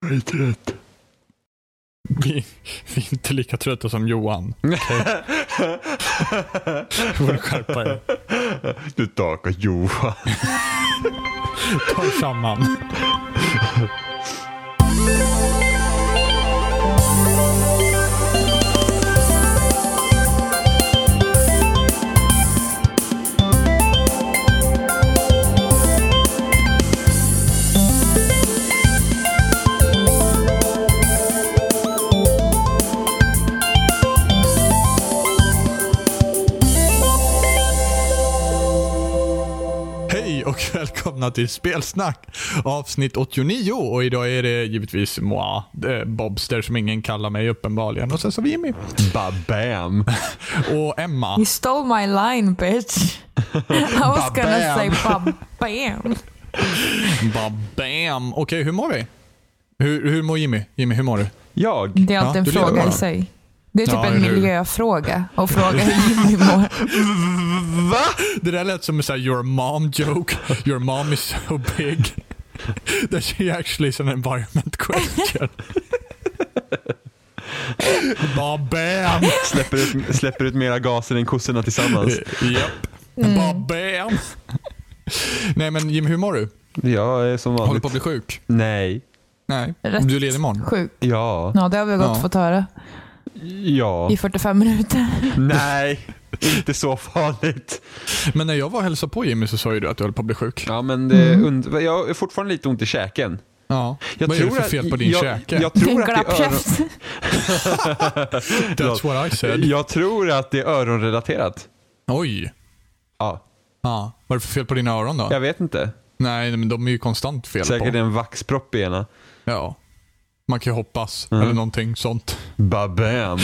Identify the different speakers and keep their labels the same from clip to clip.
Speaker 1: Jag är trött.
Speaker 2: Vi, vi är inte lika trötta som Johan. Du får skärpa er.
Speaker 1: Du takar Johan.
Speaker 2: Ta er samman. Hej och välkomna till Spelsnack avsnitt 89 och idag är det givetvis moi, eh, Bobster som ingen kallar mig uppenbarligen och sen så har vi Jimmy
Speaker 1: Babam.
Speaker 2: och Emma.
Speaker 3: You stole my line, bitch. I was gonna say ba-bam.
Speaker 2: Bara bam. Okej, hur mår vi? Hur, hur mår Jimmy? Jimmy, hur mår du?
Speaker 1: Jag?
Speaker 3: Det är
Speaker 2: Ja,
Speaker 3: alltid en
Speaker 2: du lever
Speaker 3: fråga
Speaker 2: bara.
Speaker 3: i sig. Det är typ
Speaker 2: Ja,
Speaker 3: en
Speaker 2: eller hur?
Speaker 3: miljöfråga att fråga hur Jimmy mår.
Speaker 2: Va? Det där lät som en sån här your mom joke. Your mom is so big. That she actually is an environment question. Bara bam.
Speaker 1: Släpper ut, släpper ut mera gaser än kossorna tillsammans.
Speaker 2: Japp. Bara bam. Nej men Jim, hur mår du?
Speaker 1: Jag är som
Speaker 2: Håller
Speaker 1: vanligt...
Speaker 2: på att bli sjuk?
Speaker 1: Nej.
Speaker 2: Nej.
Speaker 3: Rätt
Speaker 2: Du är ledig imorgon?
Speaker 3: Sjuk.
Speaker 1: Ja.
Speaker 3: Ja, det har vi gått
Speaker 2: Ja.
Speaker 3: fått höra
Speaker 1: Ja.
Speaker 3: i 45 minuter.
Speaker 1: Nej. Inte så farligt.
Speaker 2: Men när jag var och hälsade på Jimmy så sa ju du att du höll på att bli sjuk.
Speaker 1: Ja, men det
Speaker 3: Mm.
Speaker 1: är und- jag har fortfarande lite ont i käken.
Speaker 2: Ja.
Speaker 1: Jag
Speaker 2: Vad är det för
Speaker 1: att-
Speaker 2: fel på din
Speaker 1: jag,
Speaker 2: käke?
Speaker 1: Jag, tror
Speaker 3: En
Speaker 1: att det är öron...
Speaker 3: glappkäft.
Speaker 2: That's what I said.
Speaker 1: jag tror att det är öronrelaterat.
Speaker 2: Oj.
Speaker 1: Ja,
Speaker 2: Ja. Vad är det för fel på dina öron då?
Speaker 1: jag vet inte.
Speaker 2: Nej, men de är ju konstant fel
Speaker 1: Säkert
Speaker 2: på.
Speaker 1: en vaxpropp i ena.
Speaker 2: Ja. Man kan ju hoppas.
Speaker 1: Mm.
Speaker 2: Eller någonting sånt.
Speaker 1: Babam.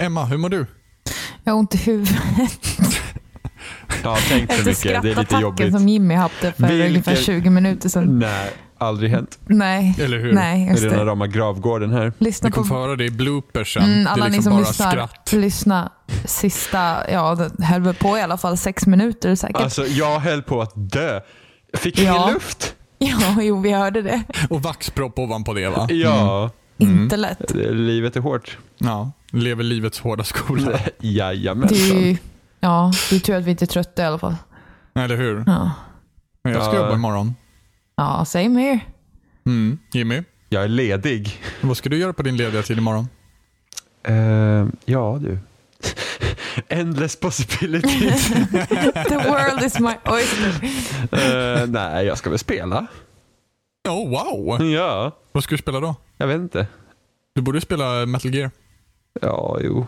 Speaker 2: Emma, hur mår du?
Speaker 3: Jag har ont i huvudet
Speaker 1: Ja, tänk för
Speaker 3: efter
Speaker 1: mycket. Det är lite
Speaker 3: skrattattacken
Speaker 1: jobbigt.
Speaker 3: som Jimmy hade för
Speaker 1: Vilken-
Speaker 3: ungefär 20 minuter sedan.
Speaker 1: Nej, aldrig hänt.
Speaker 3: Nej,
Speaker 2: Eller hur?
Speaker 3: Nej
Speaker 1: Just
Speaker 3: just
Speaker 1: I den här
Speaker 3: det.
Speaker 1: rama gravgården här.
Speaker 3: Lyssna
Speaker 2: Vi kommer få
Speaker 3: på...
Speaker 2: höra det i bloopers sen.
Speaker 3: Mm,
Speaker 2: det
Speaker 3: alla
Speaker 2: är liksom
Speaker 3: ni som
Speaker 2: bara
Speaker 3: lyssnar,
Speaker 2: skratt.
Speaker 3: lyssna sista, ja, det höll väl på i alla fall sex minuter säkert.
Speaker 1: Alltså, jag höll på att dö. Jag Fick
Speaker 3: Ja.
Speaker 1: ingen luft.
Speaker 3: Ja, jo, vi hörde det.
Speaker 2: Och vaxpropp ovanpå det va? Mm.
Speaker 1: Ja,
Speaker 3: Inte lätt.
Speaker 1: det- livet är hårt.
Speaker 2: Ja. Lever livets hårda skola.
Speaker 1: Jajamensan.
Speaker 3: Du, ja, det är tur att vi inte är trötta i alla fall.
Speaker 2: Eller hur?
Speaker 3: Ja,
Speaker 2: Men jag ska
Speaker 1: Ja.
Speaker 2: jobba imorgon.
Speaker 3: ja same here.
Speaker 2: Mm. Jimmy,
Speaker 1: Jag är ledig.
Speaker 2: vad ska du göra på din lediga tid imorgon?
Speaker 1: Eh, ja, du. Endless possibilities.
Speaker 3: The world is my oyster.
Speaker 1: Eh, nej, jag ska väl spela.
Speaker 2: Oh
Speaker 1: Mm.
Speaker 2: wow!
Speaker 1: Ja,
Speaker 2: Vad ska du spela då?
Speaker 1: jag vet inte.
Speaker 2: Du borde spela Metal Gear.
Speaker 1: Ja, jo.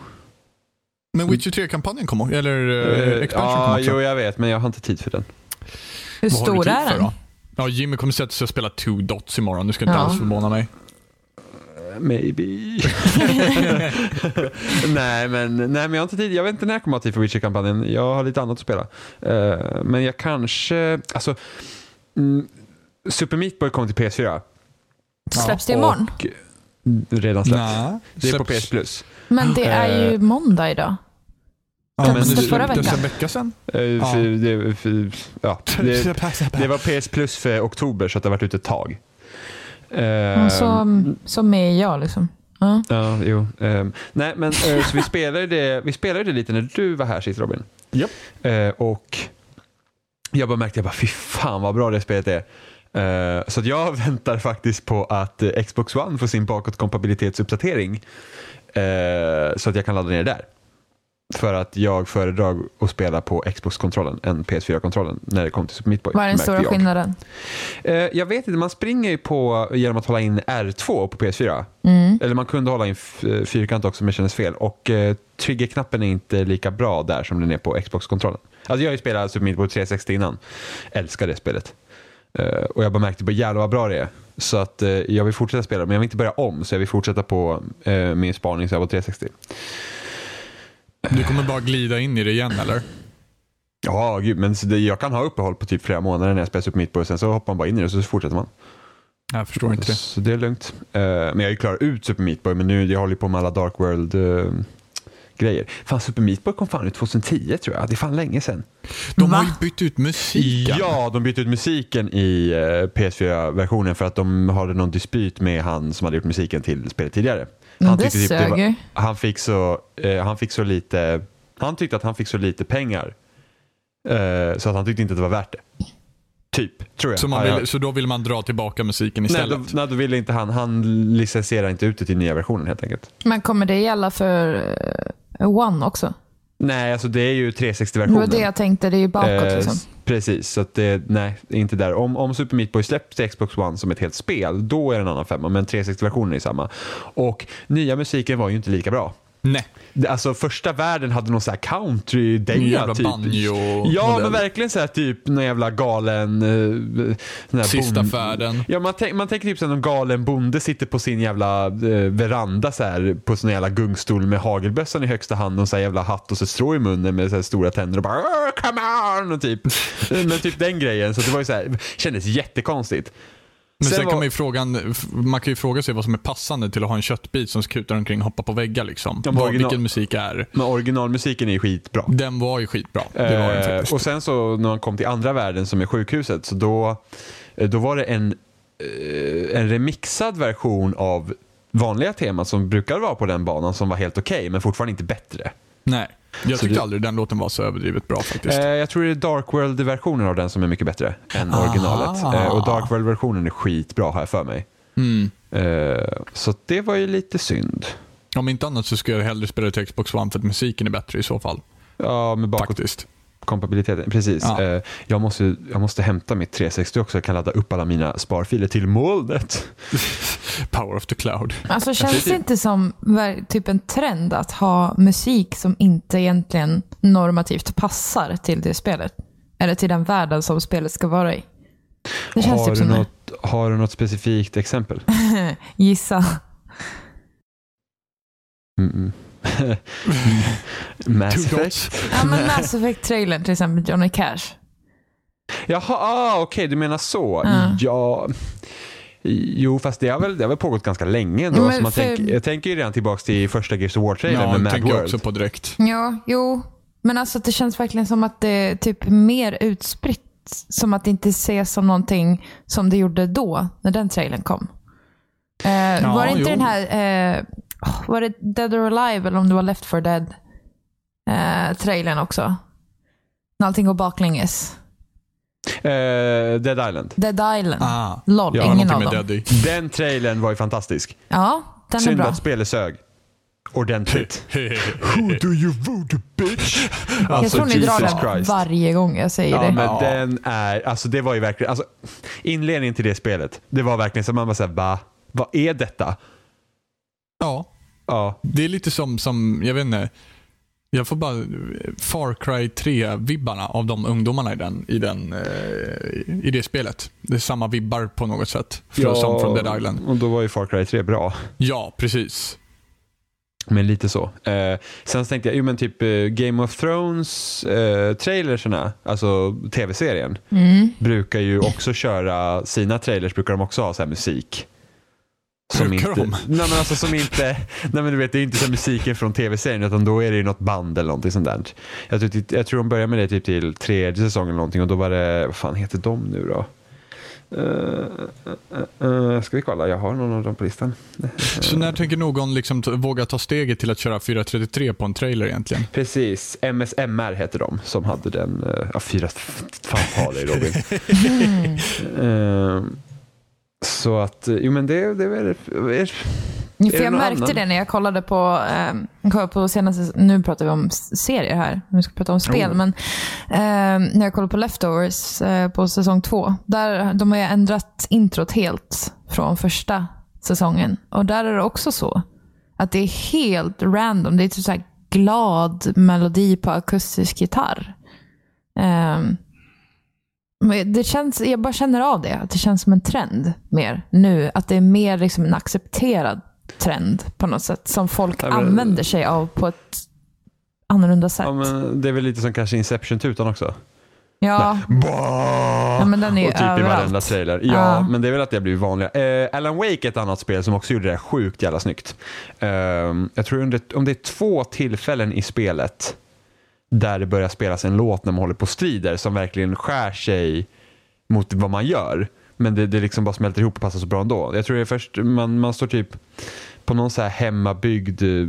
Speaker 2: Men Witcher 3-kampanjen kom också, eller
Speaker 1: Eh,
Speaker 2: uh, expansion kom
Speaker 1: ja,
Speaker 2: också.
Speaker 1: jo, jag vet, men jag har inte tid för den.
Speaker 3: Hur
Speaker 2: Vad har du
Speaker 3: stor
Speaker 2: tid
Speaker 3: är
Speaker 2: för
Speaker 3: den?
Speaker 2: då? Ja, Jimmy kommer sätta sig och spela two dots imorgon. Du ska inte
Speaker 3: Ja.
Speaker 2: alls förvåna mig.
Speaker 1: Eh, Maybe. nej, men, nej, men jag har inte tid. Jag vet inte när jag kommer ha tid för Witcher-kampanjen. Jag har lite annat att spela. Eh, men jag kanske... Alltså, mm, Super Meat Boy kom till PS4.
Speaker 3: Släpps det imorgon?
Speaker 1: Och, redan släppt.
Speaker 2: Nej.
Speaker 1: Det är på
Speaker 2: släpps-
Speaker 1: PS Plus.
Speaker 3: Men det är
Speaker 2: Eh,
Speaker 3: ju måndag idag.
Speaker 2: Ja,
Speaker 3: Släpps
Speaker 2: men
Speaker 1: det
Speaker 2: det
Speaker 3: förra
Speaker 2: släpptes
Speaker 3: veckan?
Speaker 2: en vecka sedan.
Speaker 1: Eh, för, det, för, ja, det, det
Speaker 2: Det var...
Speaker 1: var PS Plus för oktober, så att det har varit ute ett tag. Eh,
Speaker 3: Och så, mm.
Speaker 2: ehm,
Speaker 3: så med är jag liksom. Ja.
Speaker 1: Ja, jo. Ehm, nej, men eh, så vi spelade det, vi spelade det lite när du var här sist Robin.
Speaker 2: Japp.
Speaker 1: Eh, och jag bara märkte, jag bara, fy fan vad bra det spelet är. Eh, så att jag väntar faktiskt på att eh, Xbox One får sin bakåtkompatibilitetsuppdatering. eh, så att jag kan ladda ner det där. För att jag föredrar att spela på Xbox-kontrollen än PS4-kontrollen när det kommer till Super Meat Boy.
Speaker 3: Vad är den
Speaker 1: märkte
Speaker 3: stora
Speaker 1: jag.
Speaker 3: skillnaden?
Speaker 1: Eh, jag vet inte, man springer ju på genom att hålla in R2 på PS4.
Speaker 3: Mm.
Speaker 1: Eller man kunde hålla in f- eh, fyrkant också men det kändes fel. Och eh, triggerknappen är inte lika bra där som den är på Xbox-kontrollen. Alltså jag har ju spelat Super Meat Boy 360 innan. Älskar det spelet. Eh, och jag bara märkte bara jävlar vad bra det är. Så att eh, jag vill fortsätta spela men jag vill inte börja om så jag vill fortsätta på eh, min spaning så jag var 360.
Speaker 2: Du kommer bara glida in i det igen eller?
Speaker 1: Ja, gud, men så det, jag kan ha uppehåll på typ flera månader när jag spelar Super Meat Boy och sen så hoppar man bara in i det och så fortsätter man.
Speaker 2: Jag förstår inte det.
Speaker 1: Så det är lugnt. Eh, men jag är ju klar ut Super Meat Boy, men nu jag håller ju på med alla Dark World eh, grejer. Fan, Super Meat Boy kom fan ut 2010 tror jag. Det är fan länge sedan.
Speaker 2: De
Speaker 3: Va?
Speaker 2: har ju bytt ut musiken.
Speaker 1: Ja, de bytte ut musiken i eh, PS4-versionen för att de hade någon dispyt med han som hade gjort musiken till spelet tidigare.
Speaker 3: Men Mm, det
Speaker 2: typ
Speaker 1: tyckte typ det var,
Speaker 3: suger.
Speaker 1: han, fick så, eh, han fick så lite Han tyckte att han fick så lite pengar eh, så att han tyckte inte att det var värt det. Typ, tror jag.
Speaker 2: Så, man
Speaker 1: Ja, jag-
Speaker 2: vill, så då vill man dra tillbaka musiken
Speaker 1: Nej,
Speaker 2: istället.
Speaker 1: då, nej, då ville inte han. Han licensierar inte ut det till nya versionen helt enkelt.
Speaker 3: Men kommer det gälla för eh, One också?
Speaker 1: Nej, alltså det är ju 360-versionen.
Speaker 3: Det var det jag tänkte, det är ju bakåt
Speaker 1: Eh,
Speaker 3: liksom.
Speaker 1: s- Precis, så att det, nej, det är inte där. Om, om Super Meat Boy släpps till Xbox One som ett helt spel, då är det en annan femma. Men 360-versionen är samma. Och nya musiken var ju inte lika bra.
Speaker 2: Nej.
Speaker 1: Det- Alltså första världen hade någon sån här
Speaker 2: En
Speaker 1: country-dänga.
Speaker 2: jävla
Speaker 1: Typ.
Speaker 2: banjo-
Speaker 1: Ja, men
Speaker 2: modell.
Speaker 1: verkligen så här typ någon jävla galen... eh, sån här
Speaker 2: Sista
Speaker 1: bond-
Speaker 2: färden.
Speaker 1: Ja, man, tänk, man tänker typ som en galen bonde sitter på sin jävla eh, veranda så här, på sin jävla gungstol med hagelbössan i högsta hand och så här jävla hatt och så strå i munnen med så här stora tänder och bara "Åh, come on och typ. Men typ den grejen. Så det var ju så här, kändes jättekonstigt.
Speaker 2: Men
Speaker 1: Sen
Speaker 2: sen,
Speaker 1: var-
Speaker 2: kan man, ju frågan, f- man kan ju fråga sig vad som är passande till att ha en köttbit som skutar omkring och hoppar på väggar. Liksom.
Speaker 1: Ja,
Speaker 2: Vad-
Speaker 1: original-
Speaker 2: Vilken musik är.
Speaker 1: Men originalmusiken är ju skitbra.
Speaker 2: Den var ju skitbra. Det var den
Speaker 1: Eh,
Speaker 2: faktiskt.
Speaker 1: och sen så när man kom till andra världen som är sjukhuset, så då, eh, då var det en, eh, en remixad version av vanliga temat som brukar vara på den banan som var helt okej men fortfarande inte bättre.
Speaker 2: Nej, jag
Speaker 1: Så
Speaker 2: tyckte
Speaker 1: det-
Speaker 2: aldrig den låten var så överdrivet bra faktiskt.
Speaker 1: Eh, jag tror det är Dark World-versionen av den som är mycket bättre än originalet. Eh, och Dark World-versionen är skitbra har jag för mig.
Speaker 2: Mm.
Speaker 1: Eh, så det var ju lite synd.
Speaker 2: Om inte annat så skulle jag hellre spela till Xbox One för att musiken är bättre i så fall.
Speaker 1: Ja, med bakåt
Speaker 2: Faktiskt.
Speaker 1: kompatibiliteten. Precis.
Speaker 2: Ja.
Speaker 1: Eh, jag, måste, jag måste hämta mitt 360 också. Jag kan ladda upp alla mina sparfiler till molnet.
Speaker 2: Power of the cloud.
Speaker 3: Alltså känns
Speaker 1: tycker-
Speaker 3: det inte som ver- typ en trend att ha musik som inte egentligen normativt passar till det spelet? Eller till den världen som spelet ska vara i? Det känns
Speaker 1: Har
Speaker 3: typ
Speaker 1: du,
Speaker 3: som det.
Speaker 1: något, har du något specifikt exempel?
Speaker 3: Gissa.
Speaker 1: Mm. Mass
Speaker 2: Two
Speaker 1: Effect?
Speaker 2: dots.
Speaker 3: Ja men Mass Effect-trailern till exempel, Johnny Cash.
Speaker 1: Jaha, ah, okej du menar så.
Speaker 3: Ja.
Speaker 1: Ja. Jo, fast det har väl, det har väl pågått ganska länge ändå.
Speaker 3: Men
Speaker 1: så man
Speaker 3: för-
Speaker 1: tänker- jag tänker ju redan tillbaka till första Gears of War-trailern
Speaker 2: Ja,
Speaker 1: med
Speaker 2: den
Speaker 1: Mad
Speaker 2: tänker jag
Speaker 1: World.
Speaker 2: också på direkt.
Speaker 3: Ja, jo. Men alltså det känns verkligen som att det är typ mer utspritt. Som att det inte ses som någonting som det gjorde då, när den trailern kom. Eh, var det inte
Speaker 2: jo.
Speaker 3: den här, eh, åh, var det Dead or Alive eller om det var Left for Dead eh, trailern också? När allting går baklänges.
Speaker 1: Eh, Dead Island.
Speaker 3: Dead Island.
Speaker 2: Ah,
Speaker 3: LOL,
Speaker 1: Ja,
Speaker 3: ingen
Speaker 2: någonting
Speaker 3: av
Speaker 2: med
Speaker 3: dem.
Speaker 2: Daddy.
Speaker 1: Den trailern var ju fantastisk.
Speaker 3: Ja, den är
Speaker 1: Synd
Speaker 3: bra.
Speaker 1: att spelet sög. Ordentligt.
Speaker 2: Who do you voodoo bitch?
Speaker 3: jag
Speaker 1: alltså,
Speaker 3: tror ni drar
Speaker 1: Jesus
Speaker 3: den
Speaker 1: Christ.
Speaker 3: varje gång jag säger
Speaker 1: Ja,
Speaker 3: det.
Speaker 1: men
Speaker 2: Ja.
Speaker 1: den är, alltså det var ju verkligen, alltså, inledningen till det spelet, det var verkligen så man bara såhär, va? Vad är detta?
Speaker 2: Ja,
Speaker 1: Ja,
Speaker 2: det är lite som, som, jag vet inte. Jag får bara eh, Far Cry 3-vibbarna av de ungdomarna i, den, i, den, eh, i det spelet. Det är samma vibbar på något sätt. Från, som från Dead Island.
Speaker 1: Och då var ju Far Cry 3 bra.
Speaker 2: Ja, precis.
Speaker 1: Men lite så. Eh, sen så tänkte jag, jo men typ eh, Game of Thrones eh, trailerserna, alltså tv-serien, brukar ju också köra, sina trailers brukar de också ha så här musik.
Speaker 2: Brukar
Speaker 1: inte,
Speaker 2: de?
Speaker 1: Nej men alltså som inte, nej men du vet det är ju inte så här musiken från tv-serien utan då är det ju något band eller någonting sånt där. Jag tror, jag tror de började med det typ till tredje säsongen eller någonting och då var det, vad fan heter de nu då? Eh, eh, eh, ska vi kolla, jag har någon av dem på listan.
Speaker 2: Så när tänker någon liksom t- våga ta steget till att köra 4.33 på en trailer egentligen?
Speaker 1: Precis, MSMR heter de som hade den, eh, ja fyra, fan ta dig Robin.
Speaker 3: Mm.
Speaker 1: Eh, så att, eh, jo men det, det är väl, är,
Speaker 3: Ja,
Speaker 1: Är
Speaker 3: För
Speaker 1: det
Speaker 3: jag
Speaker 1: någon
Speaker 3: märkte
Speaker 1: annan?
Speaker 3: det när jag kollade på, ehm, kollade på senaste, nu pratar vi om s- serier här, nu ska vi prata om spel,
Speaker 1: Oh.
Speaker 3: men ehm, när jag kollade på Leftovers eh, på säsong två, där, de har ju ändrat introt helt från första säsongen. Och där är det också så, att det är helt random. Det är typ så här glad melodi på akustisk gitarr. Ehm, men det känns, jag bara känner av det. Att det känns som en trend mer nu. Att det är mer liksom en accepterad trend på något sätt. Som folk
Speaker 1: Ja, men-
Speaker 3: använder sig av på ett annorlunda sätt.
Speaker 1: ja, men det är väl lite som kanske Inception-tutan också.
Speaker 3: ja,
Speaker 1: Bah!
Speaker 3: ja, men men den är ju
Speaker 1: Och typ i
Speaker 3: överallt.
Speaker 1: varenda trailer. Ja,
Speaker 3: Ja.
Speaker 1: men det är väl att det har blivit vanligare. Eh, Alan Wake är ett annat spel som också gjorde det sjukt jävla snyggt. Eh, jag tror under, om det är två tillfällen i spelet där det börjar spelas en låt när man håller på och strider som verkligen skär sig mot vad man gör. Men det, det liksom bara smälter ihop och passar så bra ändå. Jag tror det är först, man, man står typ på någon så här hemmabyggd eh,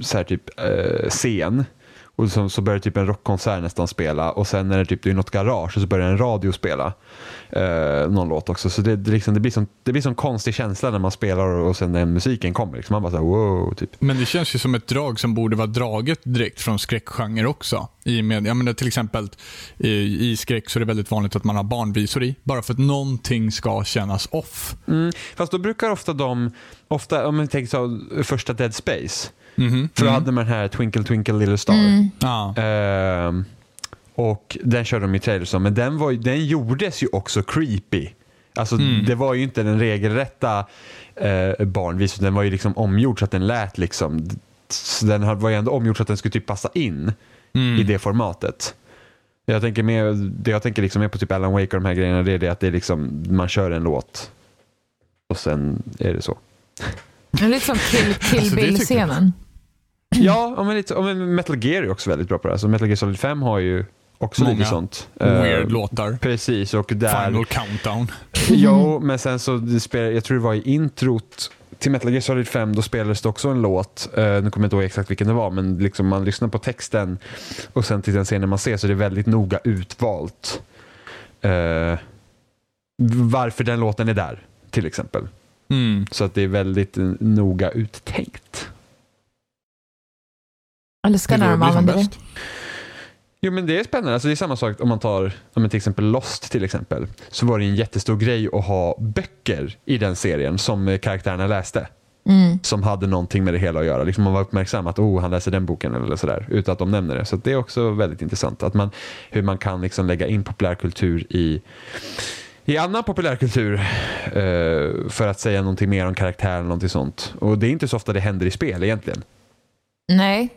Speaker 1: så här typ, eh, scen. Och så, så börjar typ en rockkonsert nästan spela och sen är det typ det är något garage och så börjar en radio spela eh, någon låt också. Så det, det, liksom, det blir som, det blir som konstig känsla när man spelar och, och sen den musiken kommer. Liksom. Man bara så här, wow. Typ.
Speaker 2: Men det känns ju som ett drag som borde vara draget direkt från skräckgenre också. I med, jag menar, till exempel i, i skräck så är det väldigt vanligt att man har barnvisor i. Bara för att någonting ska kännas off.
Speaker 1: Mm. Fast då brukar ofta de, ofta om man tänker så första Dead Space.
Speaker 2: Mhm.
Speaker 1: För då hade man den här Twinkle Twinkle Little Star.
Speaker 2: Ja.
Speaker 1: Ehm, och den körde de i trailers om, men den, var, ju- den gjordes ju också creepy. Alltså
Speaker 2: Mm.
Speaker 1: det var ju inte den regelrätta eh, barnvisan, den var ju liksom omgjord så att den lät liksom. Så den hade- var ju ändå omgjord så att den skulle typ passa in
Speaker 2: mm.
Speaker 1: i det formatet. Jag tänker mer, det jag tänker liksom mer på typ Alan Wake och de här grejerna, det är det att det är liksom, man kör en låt och sen är det så.
Speaker 3: Det är lite som Kill, kill
Speaker 2: Alltså, det tycker jag.
Speaker 3: Bill-scenen.
Speaker 1: Ja, ja, men, lite, ja, men Metal Gear är också väldigt bra på det. här. Så Metal Gear Solid 5 har ju också
Speaker 2: Många
Speaker 1: lite sånt.
Speaker 2: Weird
Speaker 1: Eh,
Speaker 2: låtar.
Speaker 1: Precis, och där...
Speaker 2: Final countdown.
Speaker 1: Jo, men sen så, det spel, jag tror det var i introt till Metal Gear Solid 5, då spelades det också en låt. Eh, nu kommer jag inte ihåg exakt vilken det var, men liksom man lyssnar på texten och sen till den scenen man ser så är det väldigt noga utvalt. eh, varför den låten är där, till exempel.
Speaker 2: Mm.
Speaker 1: Så att det är väldigt eh, noga uttänkt.
Speaker 3: Jag älskar när
Speaker 2: är då
Speaker 3: de
Speaker 2: blir som
Speaker 3: använder det.
Speaker 2: bäst.
Speaker 1: Jo men det är spännande. Alltså, det är samma sak om man tar om man till exempel Lost till exempel. Så var det en jättestor grej att ha böcker i den serien som eh, karaktärerna läste.
Speaker 3: Mm.
Speaker 1: Som hade någonting med det hela att göra. Liksom man var uppmärksam att oh, han läser den boken eller sådär. Utan att de nämner det. Så att det är också väldigt intressant. Att man, hur man kan liksom lägga in populärkultur i, i annan populärkultur. Eh, för att säga någonting mer om karaktären eller någonting sånt. Och det är inte så ofta det händer i spel egentligen.
Speaker 3: Nej.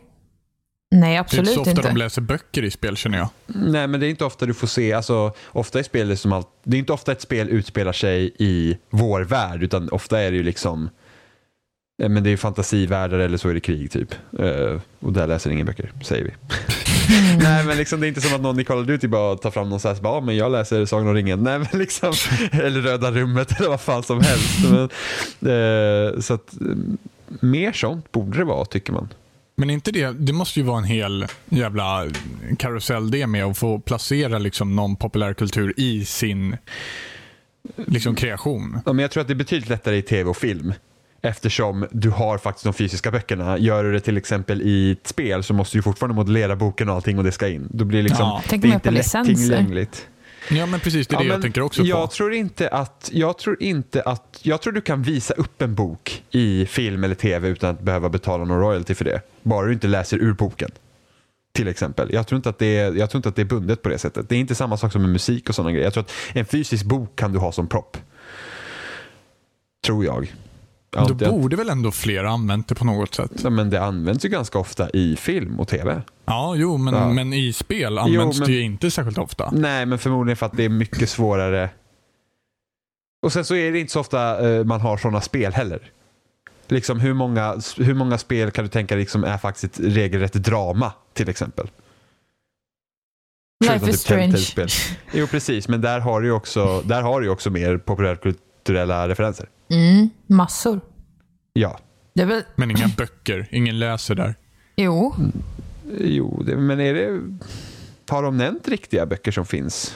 Speaker 3: Nej,
Speaker 2: Det är inte
Speaker 3: absolut
Speaker 2: så ofta
Speaker 3: inte.
Speaker 2: de läser böcker i spel känner jag.
Speaker 1: Nej, men det är inte ofta du får se, alltså, ofta är spel som allt, det är inte ofta ett spel utspelar sig i vår värld, utan ofta är det ju liksom, eh, men det är ju fantasivärldar eller så är det krig typ. Eh, och där läser ingen böcker, säger vi.
Speaker 3: Mm.
Speaker 1: Nej, men liksom, det är inte som att någon i Call of Duty bara tar fram någon så här, så bara, ah, men jag läser Sagan om ringen. Nej, men liksom, eller Röda rummet eller vad fan som helst. Men, eh, så att, eh, mer sånt borde det vara, tycker man.
Speaker 2: Men inte det, det måste ju vara en hel jävla karusell det med att få placera liksom någon populärkultur i sin liksom kreation.
Speaker 1: Ja, men jag tror att det är betydligt lättare i tv och film. Eftersom du har faktiskt de fysiska böckerna. Gör du det till exempel i ett spel så måste du ju fortfarande modellera boken och allting och det ska in. Då blir det liksom,
Speaker 2: Ja.
Speaker 1: det
Speaker 3: Tänk
Speaker 1: är
Speaker 3: mer
Speaker 1: inte
Speaker 3: på licenser.
Speaker 1: lättillgängligt.
Speaker 2: Ja men precis, det är det
Speaker 1: Ja,
Speaker 2: jag
Speaker 1: men
Speaker 2: tänker också
Speaker 1: jag
Speaker 2: på.
Speaker 1: Tror inte att, jag tror inte att, jag tror du kan visa upp en bok i film eller tv utan att behöva betala någon royalty för det. Bara du inte läser ur boken. Till exempel. Jag tror, inte att det är, jag tror inte att det är bundet på det sättet. Det är inte samma sak som med musik och sådana grejer. Jag tror att en fysisk bok kan du ha som propp. Tror jag. Ja,
Speaker 2: Då
Speaker 1: det,
Speaker 2: borde väl ändå fler ha använt det på något sätt?
Speaker 1: ja, men det används ju ganska ofta i film och tv.
Speaker 2: Ja, jo, men,
Speaker 1: Ja.
Speaker 2: men i spel används
Speaker 1: men-
Speaker 2: det ju inte särskilt ofta.
Speaker 1: Nej, men förmodligen för att det är mycket svårare. Och sen så är det inte så ofta eh, man har sådana spel heller. Liksom hur många, hur många spel kan du tänka dig liksom är faktiskt ett regelrätt drama till exempel? Förutom
Speaker 3: Life is
Speaker 1: typ Telltale
Speaker 3: strange.
Speaker 1: Jo precis, men där har du ju också, där har du ju också mer populärkulturella referenser.
Speaker 3: Mm, massor.
Speaker 1: Ja,
Speaker 3: Det är väl,
Speaker 2: Men inga böcker, ingen läser där.
Speaker 3: jo.
Speaker 1: jo, det, men är det... Har de nämnt riktiga böcker som finns?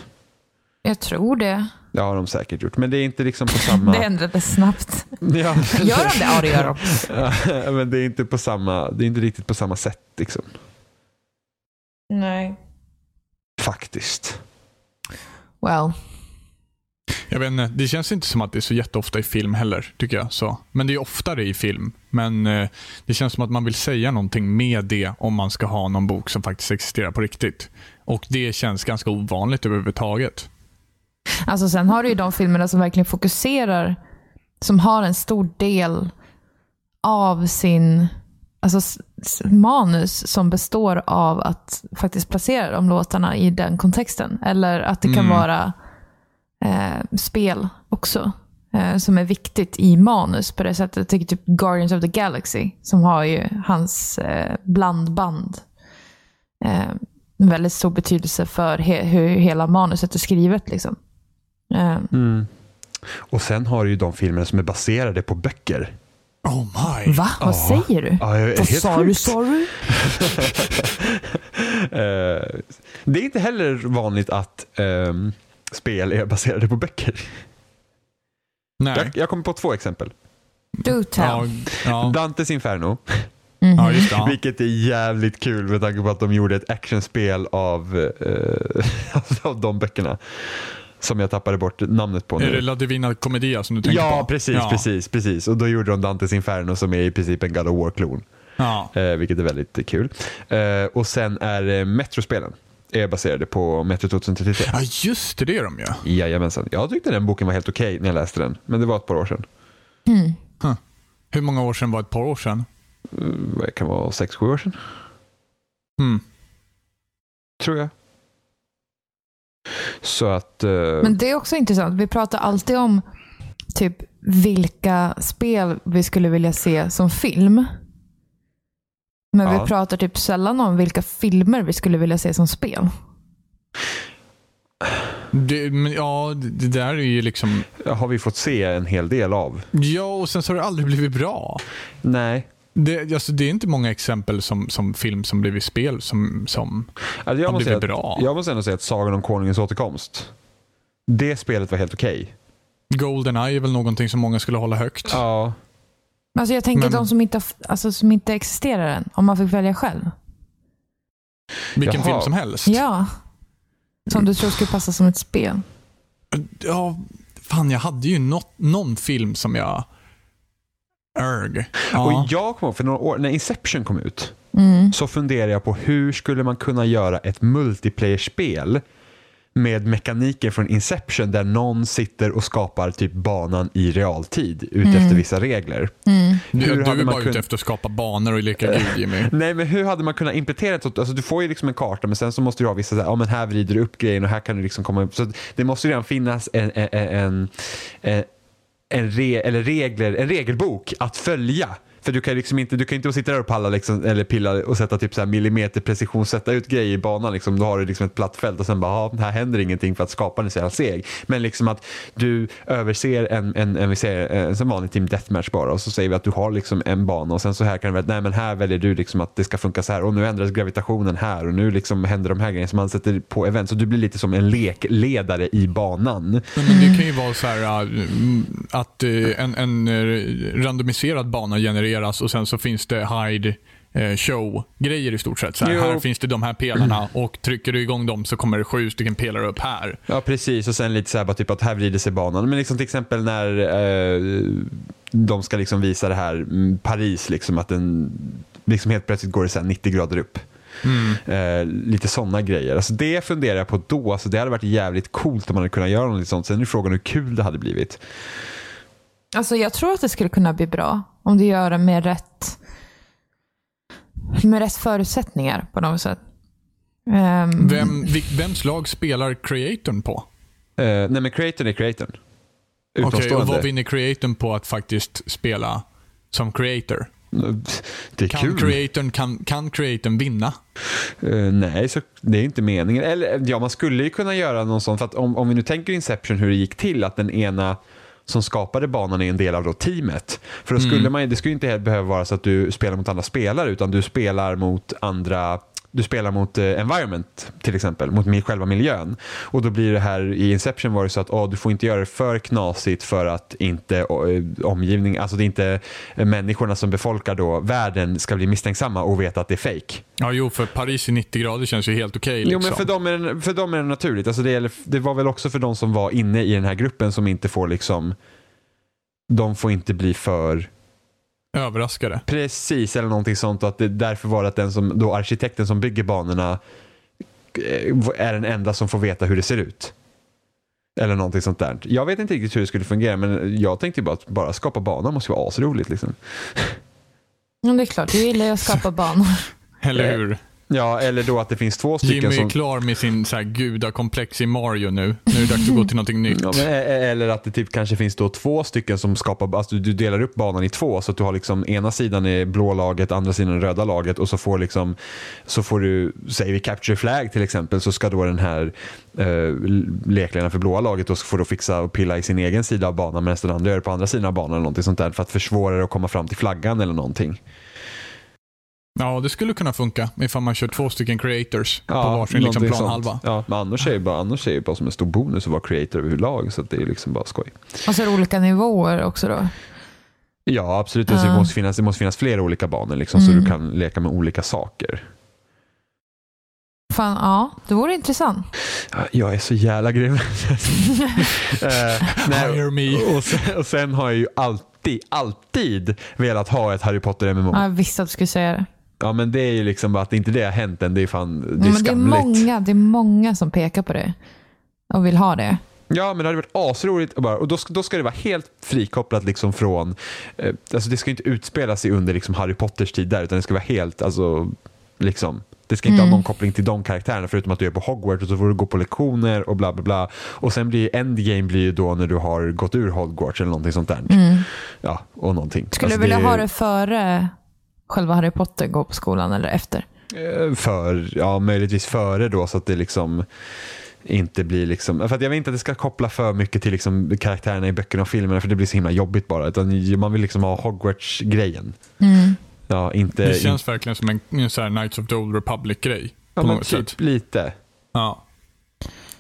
Speaker 3: Jag tror det.
Speaker 1: Det har de säkert gjort, men det är inte liksom på samma...
Speaker 3: Det ändrades snabbt.
Speaker 1: Ja.
Speaker 3: Gör de det? Ja, det gör de.
Speaker 1: Ja, men det är inte på samma, det är inte riktigt på samma sätt liksom.
Speaker 3: Nej.
Speaker 1: Faktiskt.
Speaker 3: Well.
Speaker 2: Jag vet inte, det känns inte som att det är så jätteofta i film heller, tycker jag. Så. Men det är oftare i film. Men eh, det känns som att man vill säga någonting med det om man ska ha någon bok som faktiskt existerar på riktigt. Och det känns ganska ovanligt överhuvudtaget.
Speaker 3: Alltså sen har du ju de filmerna som verkligen fokuserar, som har en stor del av sin alltså, s- s- manus som består av att faktiskt placera de låtarna i den kontexten. Eller att det kan vara eh, spel också. Eh, som är viktigt i manus på det sättet. Jag tycker typ Guardians of the Galaxy, som har ju hans eh, blandband. Eh, en väldigt stor betydelse för he- hur hela manuset är skrivet. Liksom. Eh,
Speaker 1: Och sen har du ju de filmer som är baserade på böcker.
Speaker 2: Oh my.
Speaker 3: Va? Vad
Speaker 1: Ja.
Speaker 3: säger du?
Speaker 1: Ja, jag-
Speaker 3: Vad
Speaker 1: helt
Speaker 3: sa du?
Speaker 1: sjukt.
Speaker 3: Sa du?
Speaker 1: Eh, det är inte heller vanligt att ehm, spel är baserade på böcker.
Speaker 2: Nej.
Speaker 1: Jag, jag kommer på två exempel.
Speaker 3: Do
Speaker 2: Ja,
Speaker 3: tell. Mhm.
Speaker 2: ja,
Speaker 1: Dantes Inferno,
Speaker 2: ja, just det. Ja.
Speaker 1: vilket är jävligt kul med tanke på att de gjorde ett actionspel av, eh, av de böckerna. Som jag tappade bort namnet på
Speaker 2: Är det
Speaker 1: nu.
Speaker 2: La Divina Commedia som du tänker på?
Speaker 1: Ja, precis,
Speaker 2: ja.
Speaker 1: precis, precis. Och då gjorde de Dantes Inferno som är i princip en God of War-klon.
Speaker 2: Ja.
Speaker 1: Eh, vilket är väldigt eh, kul. Eh, och sen är eh, Metro-spelen är baserade på Metro 2033.
Speaker 2: ja, just det. Det är de ju.
Speaker 1: Jajamensan. Jag tyckte den boken var helt okej när jag läste den. Men det var ett par år sedan.
Speaker 3: Mhm.
Speaker 2: Huh. Hur många år sedan var ett par år sedan?
Speaker 1: Det kan vara sex, sju år sedan.
Speaker 2: Mm.
Speaker 1: Tror jag. Så att... eh,
Speaker 3: Men det är också intressant. Vi pratar alltid om typ vilka spel vi skulle vilja se som film. Men
Speaker 1: Ja.
Speaker 3: vi pratar typ sällan om vilka filmer vi skulle vilja se som spel.
Speaker 2: Det, men, ja, det- det där är ju liksom...
Speaker 1: har vi fått se en hel del av.
Speaker 2: Ja, och sen så har det aldrig blivit bra.
Speaker 1: Nej.
Speaker 2: Det, alltså, det är inte många exempel som, som film som blivit spel som... som
Speaker 1: Alltså jag,
Speaker 2: Han
Speaker 1: måste säga,
Speaker 2: blev väl bra.
Speaker 1: att- jag måste ändå säga att Sagan om Konungens återkomst. Det spelet var helt okej.
Speaker 2: Goldeneye är väl någonting som många skulle hålla högt.
Speaker 1: Ja.
Speaker 3: Alltså jag tänker
Speaker 2: Men-
Speaker 3: de som inte, har- alltså som inte existerar än, om man fick välja själv.
Speaker 2: Vilken
Speaker 1: Jaha.
Speaker 2: film som helst.
Speaker 3: Ja. Som du tror skulle passa som ett spel.
Speaker 2: Ja, fan jag hade ju något, någon film som jag... Erg. Ja.
Speaker 1: Och jag kommer ihåg, för några år, när Inception kom ut,
Speaker 3: Mm.
Speaker 1: så funderade jag på hur skulle man kunna göra ett multiplayer-spel med mekaniker från Inception där någon sitter och skapar typ banan i realtid utefter vissa regler.
Speaker 3: Mm.
Speaker 2: Du,
Speaker 1: Hur
Speaker 2: du
Speaker 1: hade
Speaker 2: är
Speaker 1: man
Speaker 2: bara ute
Speaker 1: kunnat-
Speaker 2: efter att skapa banor och leka gud Jimmy.
Speaker 1: Nej, men hur hade man kunnat implementera det? Alltså, du får ju liksom en karta, men sen så måste du ha vissa, så här, ja men här vrider du upp grejen och här kan du liksom komma upp. Så att det måste ju redan finnas en, en, en, en, en, re, eller regler, en regelbok att följa. För du kan liksom inte, du kan inte sitta där och palla liksom, eller pilla och sätta typ så här millimeter precision, sätta ut grejer i banan. Liksom. Då har du liksom ett platt fält och sen bara, ja, här händer ingenting för att skaparen är så jävla seg. Men liksom att du överser en, en, en, vi säger, en som vanlig team deathmatch bara och så säger vi att du har liksom en bana och sen så här kan du välja, nej men här väljer du liksom att det ska funka så här och nu ändras gravitationen här och nu liksom händer de här grejerna som man sätter på event. Så du blir lite som en lekledare i banan.
Speaker 2: Nej, Men
Speaker 1: Mm.
Speaker 2: det kan ju vara så här äh, mm, att eh, en, en eh, randomiserad bana genereras och sen så finns det hide eh, show-grejer i stort sett. Så här,
Speaker 1: Jo. Mm.
Speaker 2: här finns det de här pelarna och trycker du igång dem så kommer det sju stycken pelare upp här.
Speaker 1: Ja, precis. Och sen lite så här, bara typ att här vrider sig banan. Men liksom till exempel när eh, de ska liksom visa det här mm, Paris, liksom att den liksom helt plötsligt går det så här 90 grader upp. Eh, lite sådana grejer. Alltså det funderar jag på då. Alltså det hade varit jävligt coolt om man hade kunnat göra något sånt. Sen är frågan hur kul det hade blivit.
Speaker 3: Alltså jag tror att det skulle kunna bli bra om du gör det med rätt, med rätt förutsättningar på något sätt. Ehm,
Speaker 2: Vem, vil- vems lag spelar creatorn på?
Speaker 1: Eh, nej, men creatorn är creatorn.
Speaker 2: Okej, och
Speaker 1: Utomstående.
Speaker 2: vad vinner creatorn på att faktiskt spela som creator?
Speaker 1: det är
Speaker 2: Kan
Speaker 1: kul.
Speaker 2: creatorn, kan, kan creatorn vinna?
Speaker 1: Eh, nej, så det är inte meningen. Eller eh, ja, man skulle ju kunna göra någon sån. För att om, om vi nu tänker Inception hur det gick till att den ena som skapade banan är en del av då teamet. För då skulle man, ju- det skulle ju inte helt behöva vara så att du spelar mot andra spelare utan du spelar mot andra du spelar mot eh, environment till exempel, mot mi- själva miljön. Och då blir det här i Inception var det så att åh, du får inte göra det för knasigt för att inte eh, omgivning, alltså det är inte eh, människorna som befolkar då världen ska bli misstänksamma och veta att det är fake.
Speaker 2: Ja, jo, för Paris i 90 grader känns ju helt okej. liksom.
Speaker 1: Jo, men för dem är det, för dem är det naturligt. Alltså det, gäller, det var väl också för de som var inne i den här gruppen som inte får liksom... De får inte bli för
Speaker 2: Överraskade.
Speaker 1: precis eller någonting sånt. Och att det därför var det att den som, då arkitekten som bygger banorna eh, är den enda som får veta hur det ser ut. Eller någonting sånt där. Jag vet inte riktigt hur det skulle fungera men jag tänkte ju bara att bara skapa banan måste ju vara asroligt. Liksom.
Speaker 3: Ja, det är klart. Du gillar ju att skapa banor.
Speaker 1: Eh,
Speaker 2: Eller hur?
Speaker 1: Ja, eller då att det finns två stycken
Speaker 2: Jimmy är
Speaker 1: som...
Speaker 2: klar med sin så här gudakomplex i Mario nu. Nu är det dags att gå till någonting nytt.
Speaker 1: Ja, men, e- e- eller att det typ kanske finns då två stycken som skapar, alltså du, du delar upp banan i två så att du har liksom ena sidan i blå laget, andra sidan i röda laget och så får liksom, så får du, säger vi capture flag till exempel, så ska då den här eh, lekledaren för blåa laget då får då fixa och pilla i sin egen sida av banan medan den andra gör det på andra sidan av banan eller någonting sånt där för att försvåra det att komma fram till flaggan eller någonting.
Speaker 2: Ja, det skulle kunna funka ifall man kör två stycken creators på varsin liksom,
Speaker 1: någonting
Speaker 2: planhalva.
Speaker 1: sånt. Ja, men annars är det bara, annars är det bara som en stor bonus att vara creator överlag så att det är liksom bara skoj.
Speaker 3: Och så är det Alltså, olika nivåer också då.
Speaker 1: Ja, absolut. Alltså, Det,
Speaker 3: Ja.
Speaker 1: måste finnas, det måste finnas flera olika banor liksom, så
Speaker 3: Mm.
Speaker 1: du kan leka med olika saker.
Speaker 3: Fan, ja, det vore intressant.
Speaker 1: Jag är så jävla grym. Eh, nej,
Speaker 2: Hire me.
Speaker 1: och, sen, och sen har jag ju alltid, alltid velat ha ett Harry Potter MMO.
Speaker 3: Ja, jag visste att du skulle säga det.
Speaker 1: Ja, men det är ju liksom bara att inte det har hänt än. Det är fan det är
Speaker 3: Men det, är
Speaker 1: skamligt.
Speaker 3: många, det är många som pekar på det och vill ha det.
Speaker 1: Ja, men det hade varit asroligt. Och, bara, och då, ska, då ska det vara helt frikopplat liksom från... Eh, alltså det ska inte utspela sig under liksom Harry Potters tid där, utan det ska vara helt... Alltså, liksom, det ska inte
Speaker 3: Mm.
Speaker 1: ha någon koppling till de karaktärerna förutom att du är på Hogwarts och så får du gå på lektioner och bla bla bla. Och sen blir ju endgame blir ju då när du har gått ur Hogwarts eller någonting sånt där. Ja, och någonting.
Speaker 3: Mm. Skulle
Speaker 1: Alltså,
Speaker 3: du vilja
Speaker 1: det-
Speaker 3: ha det före själva Harry Potter går på skolan eller efter?
Speaker 1: Eh, för, ja möjligtvis före då så att det liksom inte blir liksom, för att jag vill inte att det ska koppla för mycket till liksom karaktärerna i böckerna och filmerna för det blir så himla jobbigt bara. Utan man vill liksom ha Hogwarts-grejen. Mm. Ja, inte...
Speaker 2: Det känns verkligen som en, en så här Knights of the Old Republic-grej.
Speaker 1: ja,
Speaker 2: på
Speaker 1: men
Speaker 2: något
Speaker 1: typ
Speaker 2: sätt.
Speaker 1: lite.
Speaker 2: Ja.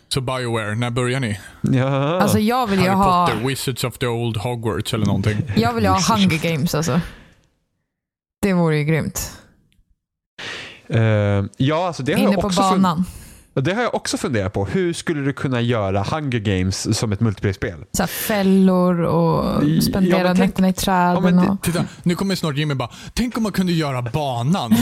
Speaker 2: Så Bioware, när börjar ni?
Speaker 1: Ja.
Speaker 3: Alltså jag vill ju
Speaker 2: Harry
Speaker 3: ha,
Speaker 2: Potter, Wizards of the Old Hogwarts eller någonting.
Speaker 3: jag vill ju ha Hunger Games alltså. Det vore ju grymt.
Speaker 1: Eh, ja, alltså det har,
Speaker 3: Inne
Speaker 1: jag
Speaker 3: på
Speaker 1: också fun-
Speaker 3: banan.
Speaker 1: det har jag också funderat på. Hur skulle du kunna göra Hunger Games som ett multiplayer-spel?
Speaker 3: Så här fällor och
Speaker 1: Ja,
Speaker 3: spendera
Speaker 1: men tänk-
Speaker 3: nätterna i
Speaker 1: Ja,
Speaker 3: träden.
Speaker 1: men det-
Speaker 3: och...
Speaker 2: Titta, nu kommer snart Jimmy bara, tänk om man kunde göra banan.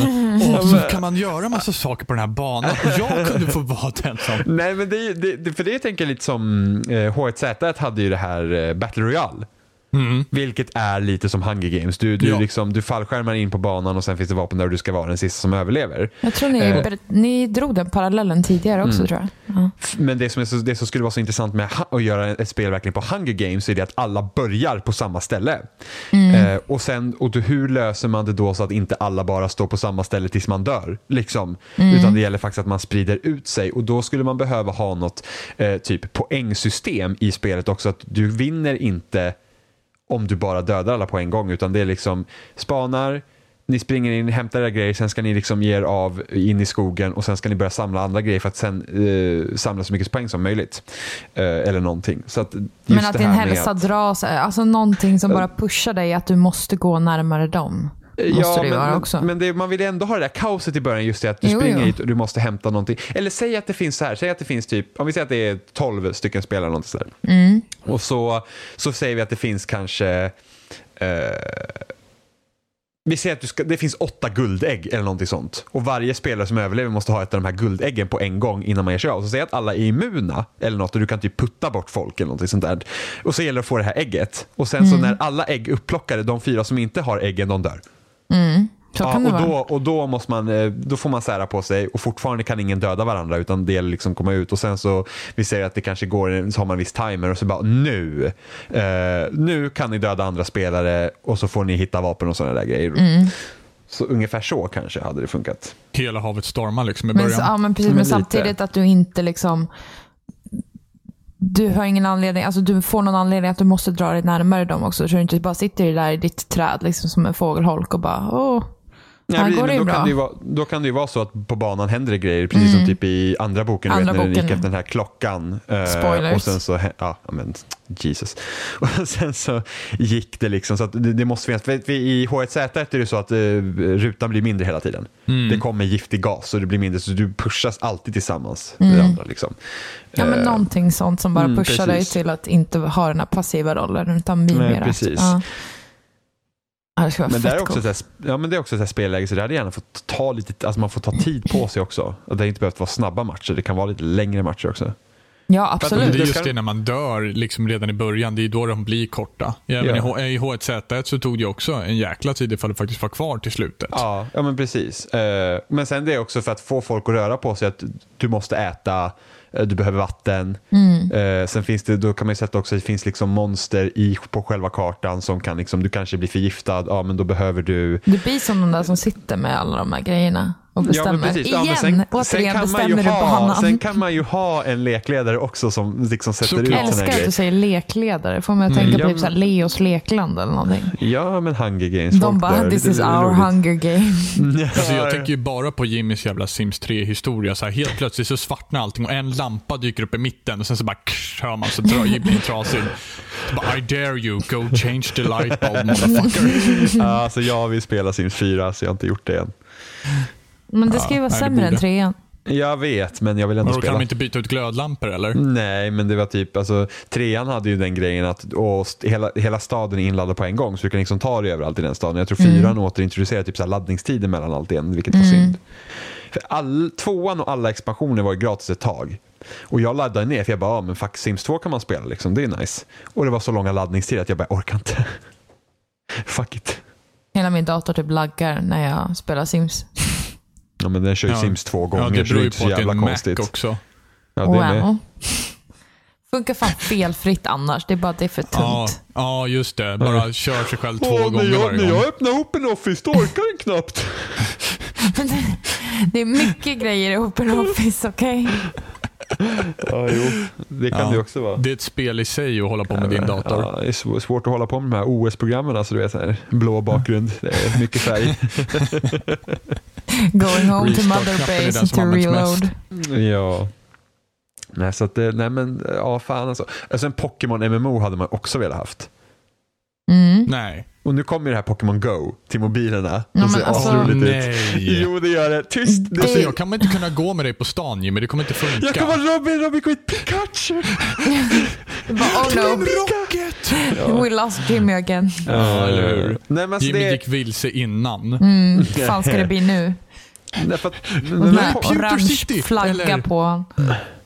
Speaker 2: Och så kan man göra massa saker på den här banan. Och jag kunde få vara den som...
Speaker 1: Nej, men det, är ju- det, det, för det tänker jag lite som eh, H1Z1 hade ju det här eh, Battle Royale.
Speaker 2: Mm.
Speaker 1: Vilket är lite som Hunger Games. Du, du,
Speaker 2: Ja.
Speaker 1: liksom, du fallskärmar in på banan och sen finns det vapen där och du ska vara den sista som överlever.
Speaker 3: Jag tror ni,
Speaker 1: Eh. Mm.
Speaker 3: ber- ni drog den parallellen tidigare också tror jag. Ja.
Speaker 1: F- Men det som, är så, det som skulle vara så intressant med ha- att göra ett spel verkligen på Hunger Games är det att alla börjar på samma ställe. Eh, och sen, och du, hur löser man det då så att inte alla bara står på samma ställe tills man dör? Liksom. Utan det gäller faktiskt att man sprider ut sig och då skulle man behöva ha något eh, typ poängsystem i spelet också. Att du vinner inte om du bara dödar alla på en gång. Utan det är liksom spanar, ni springer in, hämtar era grejer, sen ska ni liksom ge er av in i skogen och sen ska ni börja samla andra grejer för att sen eh, samla så mycket poäng som möjligt. Eh, eller någonting. Så att just
Speaker 3: Men att
Speaker 1: det
Speaker 3: din
Speaker 1: här med
Speaker 3: hälsa
Speaker 1: att-
Speaker 3: dras, alltså någonting som bara pushar dig att du måste gå närmare dem. Måste det ju
Speaker 1: men,
Speaker 3: vara
Speaker 1: men-
Speaker 3: också.
Speaker 1: Men det, man vill ju ändå ha det där kaoset i början, just det att du
Speaker 3: Jo,
Speaker 1: springer
Speaker 3: jo.
Speaker 1: hit och du måste hämta någonting. Eller säg att det finns så här, säg att det finns typ, om vi säger att det är 12 stycken spelare eller någonting sådär.
Speaker 3: Mm,
Speaker 1: Och så, så säger vi att det finns kanske, eh, vi säger att du ska, det finns åtta guldägg eller någonting sånt. Och varje spelare som överlever måste ha ett av de här guldäggen på en gång innan man ger sig av. Så säg att alla är immuna eller något och du kan typ putta bort folk eller någonting sånt där. Och så gäller det att få det här ägget. Och sen så när alla ägg upplockade, de fyra som inte har äggen, de dör.
Speaker 3: mm. Så
Speaker 1: Ja,
Speaker 3: kan det
Speaker 1: och,
Speaker 3: vara.
Speaker 1: då, och då, måste man, eh, då får man sära på sig och fortfarande kan ingen döda varandra utan det gäller liksom att komma ut och sen så vi säger att det kanske går, så har man en viss timer och så bara nu, eh, nu kan ni döda andra spelare och så får ni hitta vapen och sådana där grejer.
Speaker 3: Mm.
Speaker 1: Så ungefär så kanske hade det funkat.
Speaker 2: Hela havet stormar liksom i
Speaker 3: Men,
Speaker 2: början.
Speaker 3: s- ja, men precis,
Speaker 1: Men
Speaker 3: men,
Speaker 1: lite.
Speaker 3: samtidigt att du inte liksom... Du har ingen anledning, alltså du får någon anledning att du måste dra dig närmare dem också. Så du inte bara sitter där i ditt träd liksom som en fågelholk och bara åh. här
Speaker 1: precis,
Speaker 3: går det
Speaker 1: men
Speaker 3: ju
Speaker 1: då,
Speaker 3: bra. Mm.
Speaker 1: kan det ju vara, då kan det ju vara så att på banan händer det grejer, precis som typ i andra boken, du
Speaker 3: Andra
Speaker 1: vet, när den gick
Speaker 3: boken.
Speaker 1: efter den här klockan. eh,
Speaker 3: Spoilers.
Speaker 1: Och sen så, hä- ja, ja, men Jesus. Och sen så gick det liksom, så att det, det måste finnas, vet vi, i H1Z1 är det så att eh, rutan blir mindre hela tiden.
Speaker 2: Mm.
Speaker 3: Mm.
Speaker 1: Det kommer giftig gas och det blir mindre, så du pushas alltid tillsammans med andra. Liksom.
Speaker 3: Mm. Ja, men någonting sånt som bara
Speaker 1: mm,
Speaker 3: pushar dig
Speaker 1: precis.
Speaker 3: till att inte ha den här passiva rollen utan bli
Speaker 1: Nej,
Speaker 3: mer aktiv.
Speaker 1: precis.
Speaker 3: Ja. ja, det skulle vara
Speaker 1: Men, där är
Speaker 3: fett
Speaker 1: också
Speaker 3: coolt.
Speaker 1: ett, här sp- ja, men det är också ett här spelläge så det hade gärna fått ta lite, alltså man får ta tid på sig också. Och Det har inte behövt vara snabba matcher, det kan vara lite längre matcher också.
Speaker 3: Ja,
Speaker 1: att-
Speaker 2: Men
Speaker 3: absolut.
Speaker 2: det är just
Speaker 1: ska-
Speaker 2: det när man dör liksom redan i början. Det är då de blir korta. Även
Speaker 1: Ja.
Speaker 2: i H- i H1Z1 så tog det också en jäkla tid ifall det faktiskt var kvar till slutet.
Speaker 1: Ja, ja men precis. Eh, Men sen det är också för att få folk att röra på sig att du måste äta, eh, du behöver vatten.
Speaker 3: Mm.
Speaker 1: Eh, Sen finns det, då kan man ju sätta också att det finns liksom monster i, på själva kartan som kan liksom, du kanske blir förgiftad, ja men då behöver du
Speaker 3: Det blir som de där som sitter med alla de här grejerna och bestämmer. Igen, återigen
Speaker 1: man ju
Speaker 3: bestämmer du
Speaker 1: ha,
Speaker 3: banan.
Speaker 1: Sen kan man ju ha en lekledare också som liksom sätter
Speaker 2: Såklart.
Speaker 1: ut såna
Speaker 3: Älskar
Speaker 1: här
Speaker 3: att du
Speaker 1: grejer.
Speaker 3: säger lekledare. Får mig att tänka
Speaker 1: ja,
Speaker 3: på typ så här Leos lekland eller någonting.
Speaker 1: Ja, men Hunger Games.
Speaker 3: De
Speaker 1: folk
Speaker 3: bara,
Speaker 1: där,
Speaker 3: this
Speaker 1: det är
Speaker 3: is our
Speaker 1: roligt.
Speaker 3: hunger game.
Speaker 2: Alltså jag tänker ju bara på Jimmys jävla Sims 3-historia. Så här, helt plötsligt så svartnar allting och en lampa dyker upp i mitten och sen så bara krsch, hör man så drar Jimmy trasig. Så bara, I dare you, go change the light bulb motherfucker.
Speaker 1: Ja, alltså jag vill spela Sims 4 så jag har inte gjort det än.
Speaker 3: Men det ska ju vara
Speaker 2: nej, det
Speaker 3: sämre än
Speaker 2: borde.
Speaker 3: trean.
Speaker 1: Jag vet, men jag vill ändå
Speaker 2: Och då kan
Speaker 1: spela.
Speaker 2: de inte byta ut glödlampor eller?
Speaker 1: Nej, men det var typ, alltså, trean hade ju den grejen att och st- hela, hela staden är inladdad på en gång så du kan liksom ta dig överallt i den staden. Jag tror fyran återintroducerar typ så här laddningstiden mellan allt igen, vilket var synd. För all, tvåan och alla expansioner var ju gratis ett tag. Och jag laddade ner för jag bara, ah, men fuck Sims 2 kan man spela liksom, det är nice. Och det var så långa laddningstider att jag bara, jag orkar inte. fuck it.
Speaker 3: Hela min dator typ laggar när jag spelar Sims.
Speaker 1: Ja men den kör ju
Speaker 2: Ja.
Speaker 1: Sims två gånger
Speaker 2: Ja, det
Speaker 1: så det
Speaker 2: beror
Speaker 1: är
Speaker 2: ju
Speaker 1: inte
Speaker 2: på
Speaker 1: så
Speaker 2: att det är
Speaker 1: jävla
Speaker 2: en Mac
Speaker 1: konstigt.
Speaker 2: också.
Speaker 1: Ja, det är med.
Speaker 3: Wow. Funkar fan felfritt annars. Det är bara att det är för
Speaker 2: Ja,
Speaker 3: tunt.
Speaker 2: ja, just det. Bara kör sig själv två
Speaker 1: Åh,
Speaker 2: gånger varje gång.
Speaker 1: öppnar upp en Office då orkar den knappt.
Speaker 3: Det är mycket grejer i Open Office, okej?
Speaker 1: Ja, jo. Det kan
Speaker 2: Ja.
Speaker 1: det också vara.
Speaker 2: Det är ett spel i sig att hålla på med din dator.
Speaker 1: Ja, det är sv- svårt att hålla på med de här OS-programmen, alltså du vet, så här, blå bakgrund, det är mycket färg.
Speaker 3: Going home to
Speaker 2: Restart-knappen
Speaker 3: mother
Speaker 2: är den
Speaker 3: base
Speaker 2: som
Speaker 3: and to
Speaker 2: används mest.
Speaker 3: reload.
Speaker 1: ja. Nej, så att det, nej men, ja fan alltså. Alltså en Pokémon-MMO hade man också velat haft.
Speaker 3: Mm.
Speaker 2: Nej.
Speaker 1: Och nu kommer ju det här Pokémon Go till mobilerna.
Speaker 3: Ja,
Speaker 1: De ser
Speaker 3: men alltså-
Speaker 1: asroligt ut.
Speaker 2: Nej.
Speaker 1: Jo, det gör det. Tyst! Det...
Speaker 2: Alltså, jag kommer inte kunna gå med dig på stan Jimmy, det kommer inte funka.
Speaker 1: Jag kan vara Robin, Robin Quit Pikachu!
Speaker 3: Det bara, oh no,
Speaker 2: Rocket!
Speaker 3: we lost Jimmy again.
Speaker 2: Ja, eller hur?
Speaker 1: Nej, men alltså
Speaker 2: Jimmy
Speaker 1: det...
Speaker 2: gick vilse innan.
Speaker 3: Mm, vad fan ska det bli nu?
Speaker 1: Nej, för att...
Speaker 3: Och
Speaker 2: Mm.
Speaker 1: men-
Speaker 3: den här
Speaker 2: Computer City,
Speaker 3: orange flagga
Speaker 2: eller?
Speaker 3: på honom.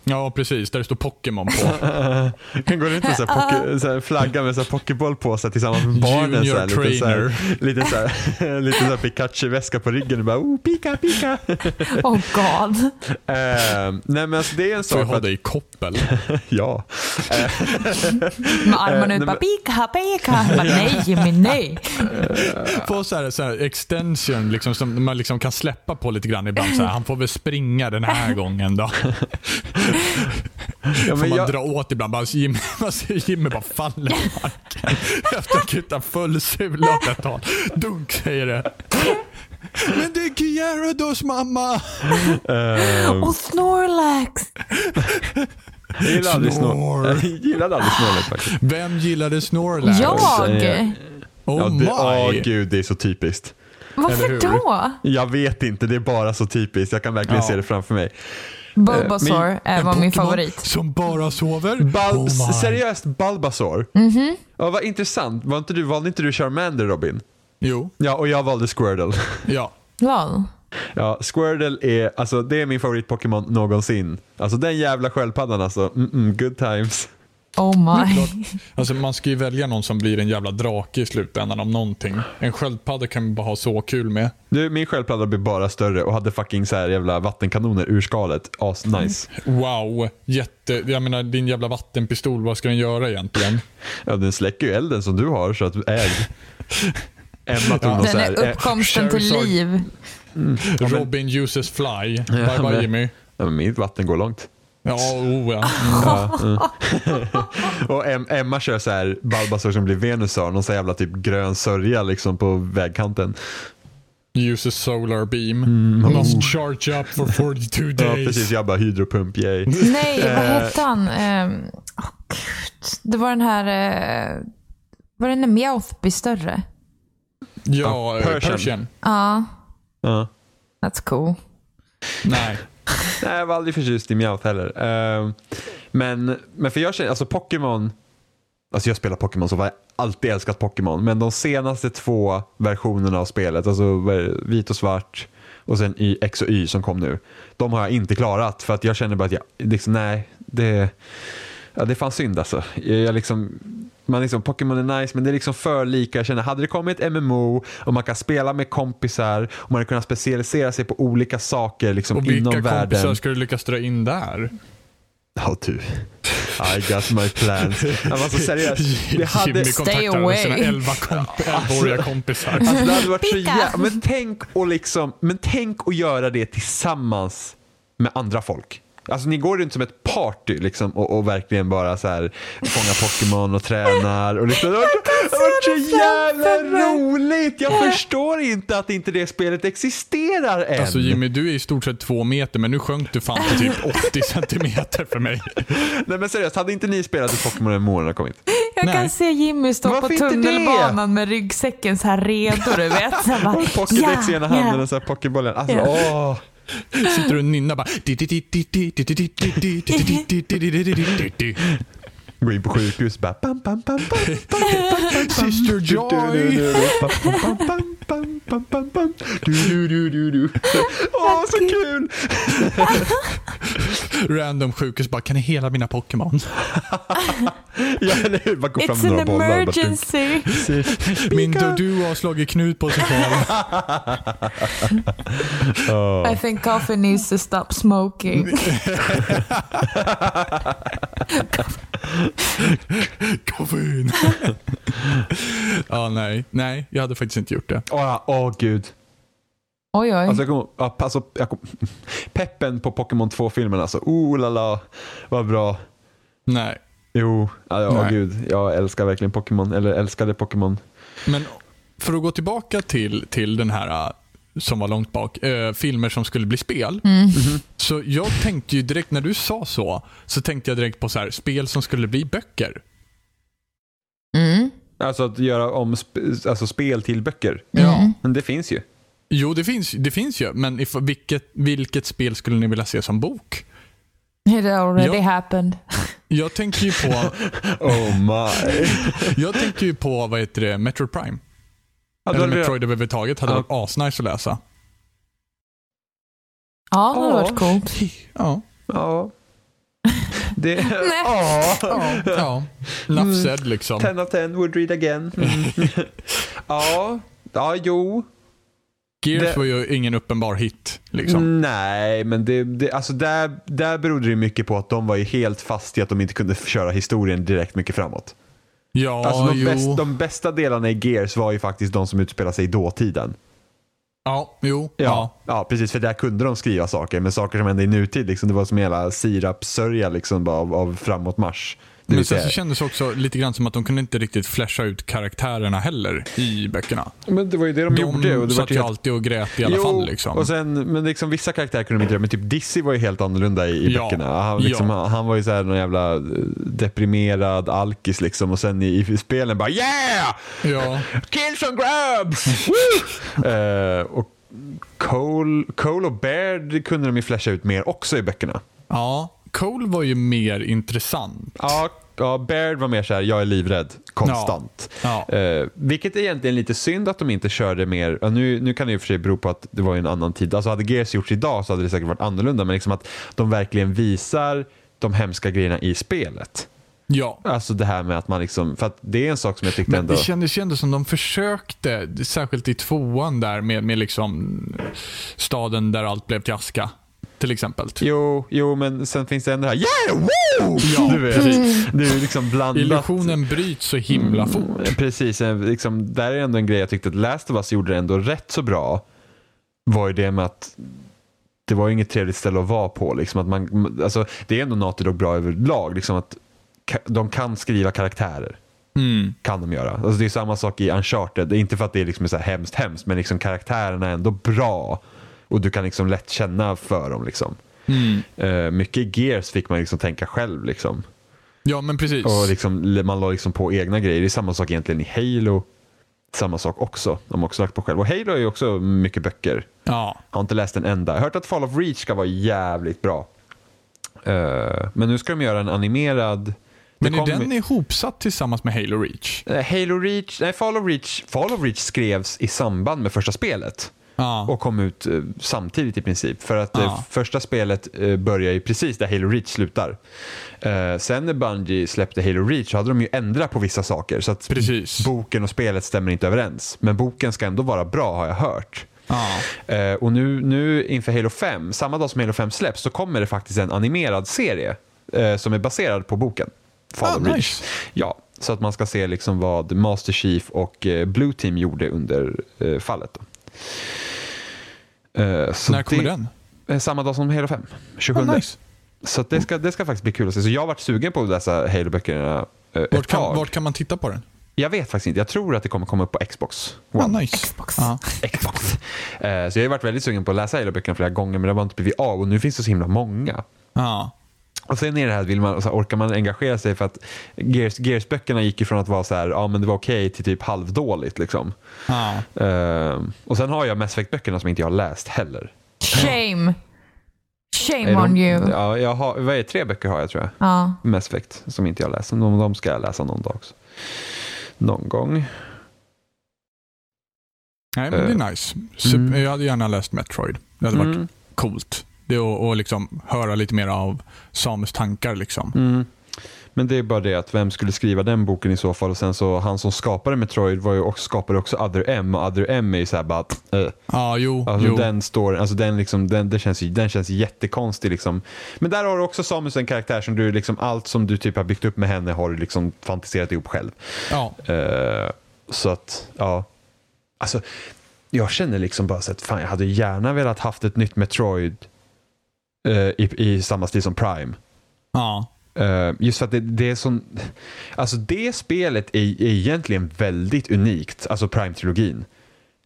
Speaker 2: Ja, precis. Där det står Pokémon på.
Speaker 1: Han går runt med så här poke, så här flagga med så här pokéboll på sig tillsammans med barnen. Så här,
Speaker 2: Junior
Speaker 1: lite så här,
Speaker 2: trainer.
Speaker 1: lite så här, lite så här Pikachu-väska på ryggen och bara oh, pika, pika.
Speaker 3: Oh god.
Speaker 1: Ehm, nej men alltså det är en
Speaker 2: Får jag
Speaker 1: sak.
Speaker 2: ha
Speaker 1: För att,
Speaker 2: dig i koppel?
Speaker 1: ja.
Speaker 3: Med armarna
Speaker 1: Eh,
Speaker 3: ut
Speaker 1: nej,
Speaker 3: bara pika, pika. Han bara, nej Jimmy, nej.
Speaker 2: Få så här, så här extension liksom, som man liksom kan släppa på lite grann ibland. Så här, han får väl springa den här gången då.
Speaker 1: ja
Speaker 2: Får
Speaker 1: men
Speaker 2: man
Speaker 1: jag,
Speaker 2: dra åt ibland. Bara, så Jimmy, man ser Jimmy bara faller i marken. Efter att kuta full sula åt ett håll. Dunk säger det. Men det är Gyarados mamma!
Speaker 3: Och Snorlax.
Speaker 1: jag gillar aldrig snor.
Speaker 2: Snor.
Speaker 1: Jag gillade aldrig snålet faktiskt.
Speaker 2: Vem gillade Snorlax?
Speaker 3: Jag?
Speaker 1: eh,
Speaker 2: Oh
Speaker 1: Ja, det, åh
Speaker 2: my!
Speaker 1: gud, det är så typiskt.
Speaker 2: Eller
Speaker 3: Varför
Speaker 2: hur?
Speaker 3: då?
Speaker 1: Jag vet inte, det är bara så typiskt. Jag kan verkligen
Speaker 2: Ja.
Speaker 1: se det framför mig.
Speaker 3: Bulbasaur eh,
Speaker 2: En
Speaker 3: var min
Speaker 2: Pokémon
Speaker 3: favorit.
Speaker 2: Som bara sover? Oh
Speaker 1: Bal
Speaker 2: my.
Speaker 1: seriöst, Bulbasaur? mm Ja, vad intressant. Var inte du, valde inte du Charmander Robin?
Speaker 2: Jo,
Speaker 1: Ja, och jag valde Squirtle.
Speaker 2: ja.
Speaker 3: Lol.
Speaker 1: Ja, Squirtle är, alltså, det är min favorit-Pokémon någonsin. Alltså den jävla sköldpaddan alltså. Mm-mm, good times.
Speaker 3: Oh my.
Speaker 2: Alltså man ska ju välja någon som blir en jävla drake i slutändan om någonting. En sköldpadda kan man bara ha så kul med.
Speaker 1: Du, min sköldpadda blev bara större och hade fucking så här jävla vattenkanoner ur skalet. As nice.
Speaker 2: Wow, jätte... Jag menar din jävla vattenpistol, vad ska den göra egentligen?
Speaker 1: Ja, den släcker ju elden som du har så att äg. Emma tog någon så
Speaker 3: Den
Speaker 1: här,
Speaker 3: är
Speaker 1: eh,
Speaker 3: uppkomsten till
Speaker 2: Charizard.
Speaker 3: liv.
Speaker 2: Robin uses fly. bye bye
Speaker 1: men-
Speaker 2: Jimmy.
Speaker 1: ja, men mitt vatten går långt.
Speaker 2: Ja, oh, ja.
Speaker 1: Och em, Emma kör så här Balbasaur som blir Venusaur, någon så här jävla typ grön sörja liksom på vägkanten.
Speaker 2: Uses solar beam. Must charge up for 42
Speaker 1: Ja,
Speaker 2: days.
Speaker 1: precis. Jag bara hydropump, yay.
Speaker 3: Nej, vad hette han? Ehm, åh, gud. Det var den här... eh, var det när Meowth blir större?
Speaker 2: Ja,
Speaker 1: Persian.
Speaker 2: eh, Persian.
Speaker 3: Ja,
Speaker 1: Ja.
Speaker 3: that's cool.
Speaker 2: Nej.
Speaker 1: Nej, jag var aldrig förtjust i Meowth heller. Eh, men, men för jag känner, alltså Pokémon, alltså jag spelar Pokémon så jag har alltid älskat Pokémon, men de senaste två versionerna av spelet, alltså vad är det, vit och svart Och sen i X och Y som kom nu. De har jag inte klarat för att jag känner bara att jag, liksom, nej, det, ja, det är fan synd alltså. Jag, jag liksom, man liksom, Pokémon är nice men det är liksom för lika. Jag känner, hade det kommit ett MMO och man kan spela med kompisar och man hade kunnat specialisera sig på olika saker liksom,
Speaker 2: Och
Speaker 1: inom
Speaker 2: vilka
Speaker 1: världen.
Speaker 2: kompisar ska du lyckas dra in där?
Speaker 1: Ja, du. I got my plans. Ja, men Alltså seriöst. Det hade,
Speaker 2: Jimmy kontaktade
Speaker 3: away.
Speaker 2: sina 11 komp- 11-åriga kompisar.
Speaker 1: alltså, det hade varit så
Speaker 3: Pika.
Speaker 1: jä- men tänk och liksom, Men tänk att göra det tillsammans med andra folk. Alltså ni går runt som ett party liksom, och, och verkligen bara så här, fångar Pokémon och tränar. Och liksom, det har varit- det har varit så jävla roligt! Jag förstår inte att inte det spelet existerar än.
Speaker 2: Alltså Jimmy, du är i stort sett två meter, men nu sjönk du fan till typ 80 centimeter för mig.
Speaker 1: Nej men seriöst, hade inte ni spelat i Pokémon när målen har kommit?
Speaker 3: Jag
Speaker 2: Nej.
Speaker 3: kan se Jimmy stå
Speaker 1: Varför
Speaker 3: på
Speaker 1: inte det?
Speaker 3: tunnelbanan med ryggsäcken så här redo, du vet. Så här bara,
Speaker 1: Pokédex i ena handen
Speaker 3: ja.
Speaker 1: och så här Pokébollen. Alltså,
Speaker 3: Ja.
Speaker 1: åh.
Speaker 2: Sitter du och nynnar bara...
Speaker 1: Gå in på sjukhus bara pam, pam, pam, pam, pam, pam,
Speaker 2: Sister Joy!
Speaker 1: pam, pam, pam, pam, pam, pam. Du, du, du, du, du. Åh, så kul!
Speaker 2: Random sjukhus bara, kan ni hela mina Pokémon?
Speaker 1: Ja, eller hur? Bara gå fram
Speaker 3: It's
Speaker 1: med
Speaker 3: an
Speaker 1: några bollar. och bara dunk.
Speaker 3: emergency.
Speaker 2: Min Dodu har slagit knut på sig själv.
Speaker 3: I think coffee needs to stop smoking.
Speaker 1: Mm.
Speaker 2: Koffein! ja, nej. Nej, jag hade faktiskt inte gjort det.
Speaker 1: Åh, åh, gud.
Speaker 3: Oj, oj.
Speaker 1: Alltså, jag kom, ja, alltså, jag kom, peppen på Pokémon 2-filmen alltså. Oh la la, vad bra.
Speaker 2: Nej.
Speaker 1: Jo, ja, ja,
Speaker 2: Nej.
Speaker 1: gud. Jag älskar verkligen Pokémon. Eller älskade Pokémon.
Speaker 2: Men för att gå tillbaka till, till den här äh, som var långt bak, äh, filmer som skulle bli spel.
Speaker 3: Mm.
Speaker 2: Så jag tänkte ju direkt, när du sa så, så tänkte jag direkt på så här, spel som skulle bli böcker.
Speaker 3: Mm.
Speaker 1: Alltså att göra om sp alltså, spel till böcker.
Speaker 2: Ja.
Speaker 1: Men det finns ju.
Speaker 2: Jo, det finns, det finns ju, men if, vilket, vilket spel skulle ni vilja se som bok?
Speaker 3: It already
Speaker 2: Ja.
Speaker 3: happened.
Speaker 2: Jag tänker ju på,
Speaker 1: Oh my.
Speaker 2: jag tänker ju på vad heter det, Metro Prime.
Speaker 1: Ja, då
Speaker 2: Eller
Speaker 1: hade vi-
Speaker 2: Metroid överhuvudtaget hade
Speaker 1: Ja.
Speaker 2: varit asnice att läsa.
Speaker 3: Ja, det hade
Speaker 1: Ja.
Speaker 3: varit coolt.
Speaker 2: Ja.
Speaker 1: Ja. Det...
Speaker 3: Nej.
Speaker 1: Ja.
Speaker 2: ja.
Speaker 1: Mm.
Speaker 2: Enough said liksom.
Speaker 1: 10 of 10 would read again. Mm. ja. Ja, jo.
Speaker 2: Gears
Speaker 1: det- Mm.
Speaker 2: var ju ingen uppenbar hit. Liksom.
Speaker 1: Nej, men det, det, alltså där, där berodde det mycket på att de var ju helt fast i att de inte kunde köra historien direkt mycket framåt.
Speaker 2: Ja,
Speaker 1: Alltså de,
Speaker 2: jo.
Speaker 1: bäst, de bästa delarna i Gears var ju faktiskt de som utspelar sig i dåtiden.
Speaker 2: Ja, jo. Ja.
Speaker 1: Ja, ja precis. För där kunde de skriva saker. Men saker som hände i nutid, liksom, det var som hela sirapssörja liksom, bara av, av framåt mars. Det
Speaker 2: Men
Speaker 1: vill
Speaker 2: sen
Speaker 1: säga-
Speaker 2: så kändes det också lite grann som att de kunde inte riktigt flasha ut karaktärerna heller i böckerna.
Speaker 1: men det var ju det de, gjorde. Och
Speaker 2: De
Speaker 1: det var
Speaker 2: satt ju
Speaker 1: ju
Speaker 2: alltid och grät i alla fall. Liksom.
Speaker 1: och sen, men liksom, vissa karaktärer kunde de inte göra, men typ Dizzy var ju helt annorlunda i, i
Speaker 2: Ja.
Speaker 1: böckerna. Han, liksom,
Speaker 2: Ja.
Speaker 1: han, han var ju så här någon jävla eh, deprimerad alkis liksom och sen i, i spelen bara yeah!
Speaker 2: Ja.
Speaker 1: Kill some grabs! Woo! Eh, och Cole, Cole och Baird kunde de ju flasha ut mer också i böckerna.
Speaker 2: ja. Cole var ju mer intressant.
Speaker 1: Ja, ja Baird var mer så här, jag är livrädd konstant.
Speaker 2: Ja. Ja.
Speaker 1: Eh, vilket är egentligen lite synd att de inte körde mer, ja, nu, nu kan det ju för sig bero på att det var ju en annan tid, alltså hade Gears gjorts idag så hade det säkert varit annorlunda, men liksom att de verkligen visar de hemska grejerna i spelet.
Speaker 2: Ja.
Speaker 1: Alltså det här med att man liksom, för att det är en sak som jag tyckte
Speaker 2: Men
Speaker 1: ändå...
Speaker 2: det kändes ju ändå som de försökte, särskilt i tvåan där med, med liksom staden där allt blev till aska. Till exempel.
Speaker 1: Jo, jo, men sen finns det ändå det här Yeah! Woo!
Speaker 2: Ja,
Speaker 1: du vet,
Speaker 2: precis.
Speaker 1: Det är ju liksom blandat.
Speaker 2: Illusionen bryts så himla fort.
Speaker 1: Precis, eh, liksom, där är ändå en grej jag tyckte att Last of Us gjorde ändå rätt så bra. Var ju det med att det var ju inget trevligt ställe att vara på. Liksom, att man, alltså, det är ändå Naughty Dog bra överlag. Liksom, att ka- de kan skriva karaktärer.
Speaker 2: Mm.
Speaker 1: Kan de göra. Alltså, det är samma sak i Uncharted. Det är Inte för att det är liksom så här hemskt hemskt men liksom, karaktärerna är ändå bra. Och du kan liksom lätt känna för dem. Liksom.
Speaker 2: Mm.
Speaker 1: Eh, mycket i Gears fick man liksom tänka själv. Liksom.
Speaker 2: Ja, men precis.
Speaker 1: Och liksom, man la liksom på egna grejer. Det är samma sak egentligen i Halo. Samma sak också. De har också lagt på själv. Och Halo är ju också mycket böcker.
Speaker 2: Ja.
Speaker 1: Har inte läst en enda. Jag har hört att Fall of Reach ska vara jävligt bra. Eh, men nu ska de göra en animerad...
Speaker 2: Men
Speaker 1: det
Speaker 2: är
Speaker 1: kom-
Speaker 2: den ihopsatt tillsammans med Halo Reach?
Speaker 1: Eh, Halo Reach, nej Fall of Reach, Fall of Reach skrevs i samband med första spelet.
Speaker 2: Ja.
Speaker 1: och kom ut eh, samtidigt i princip. För att eh,
Speaker 2: Ja.
Speaker 1: första spelet eh, börjar ju precis där Halo Reach slutar. Eh, sen när Bungie släppte Halo Reach så hade de ju ändrat på vissa saker. Så att
Speaker 2: Precis.
Speaker 1: boken och spelet stämmer inte överens. Men boken ska ändå vara bra har jag hört.
Speaker 2: Ja.
Speaker 1: Eh, och nu, nu inför Halo 5, samma dag som Halo 5 släpps, så kommer det faktiskt en animerad serie eh, som är baserad på boken. Fall
Speaker 2: Ah,
Speaker 1: of Reach.
Speaker 2: nice.
Speaker 1: Ja, så att man ska se liksom vad Master Chief och eh, Blue Team gjorde under eh, fallet. Då. Eh, så
Speaker 2: När kommer
Speaker 1: det-
Speaker 2: den?
Speaker 1: Eh, Samma dag som Halo 5, 27.
Speaker 2: Ah, nice.
Speaker 1: Så att det, ska, det ska faktiskt bli kul att se. Så jag har varit sugen på att läsa Halo-böckerna eh,
Speaker 2: Vart
Speaker 1: ett
Speaker 2: kan,
Speaker 1: tag.
Speaker 2: vart kan man titta på den?
Speaker 1: Jag vet faktiskt inte. Jag tror att det kommer komma upp på Xbox
Speaker 2: Ah,
Speaker 1: One.
Speaker 2: nice.
Speaker 3: Xbox.
Speaker 2: Ja.
Speaker 1: Xbox. Eh, så jag har varit väldigt sugen på att läsa Halo-böckerna flera gånger men det har bara inte blivit av och nu finns det så himla många.
Speaker 2: Ja.
Speaker 1: Och sen är det här, vill man, så här, orkar man engagera sig för att Gears- Gears-böckerna gick ju från att vara så här, ja men det var okej till typ halvdåligt liksom.
Speaker 2: Ja.
Speaker 1: Eh, och sen har jag Mass Effect-böckerna som inte jag har läst heller.
Speaker 3: Shame. Shame
Speaker 1: Är
Speaker 3: on
Speaker 1: de-
Speaker 3: you. Ja.
Speaker 1: Ja, jag har, vad är det, tre böcker har jag tror jag. Mass Effect som inte jag läst. De, de ska jag läsa någon dag också. Någon gång.
Speaker 2: Nej, men det är nice. Super,
Speaker 1: Mm.
Speaker 2: Jag hade gärna läst Metroid. Det hade varit
Speaker 1: Mm,
Speaker 2: coolt. Det och, och liksom höra lite mer av Samus tankar. Liksom.
Speaker 1: mm. Men det är bara det att vem skulle skriva den boken i så fall? Och sen så han som skapade Metroid var ju också, skapade också Other M och Other M är ju så här bara att, eh.
Speaker 2: Ja, jo.
Speaker 1: Alltså
Speaker 2: jo.
Speaker 1: den står, alltså den liksom, den, det känns, ju- den känns jättekonstig liksom. Men där har du också Samus en karaktär som du liksom, allt som du typ har byggt upp med henne har du liksom fantiserat ihop själv.
Speaker 2: Ja.
Speaker 1: Eh, så att, ja. Alltså, jag känner liksom bara så att fan jag hade gärna velat haft ett nytt Metroid eh, i, i samma stil som Prime.
Speaker 2: Ja.
Speaker 1: Eh, just för att det, det är sån... Alltså det spelet är, är egentligen väldigt unikt, alltså Prime-trilogin.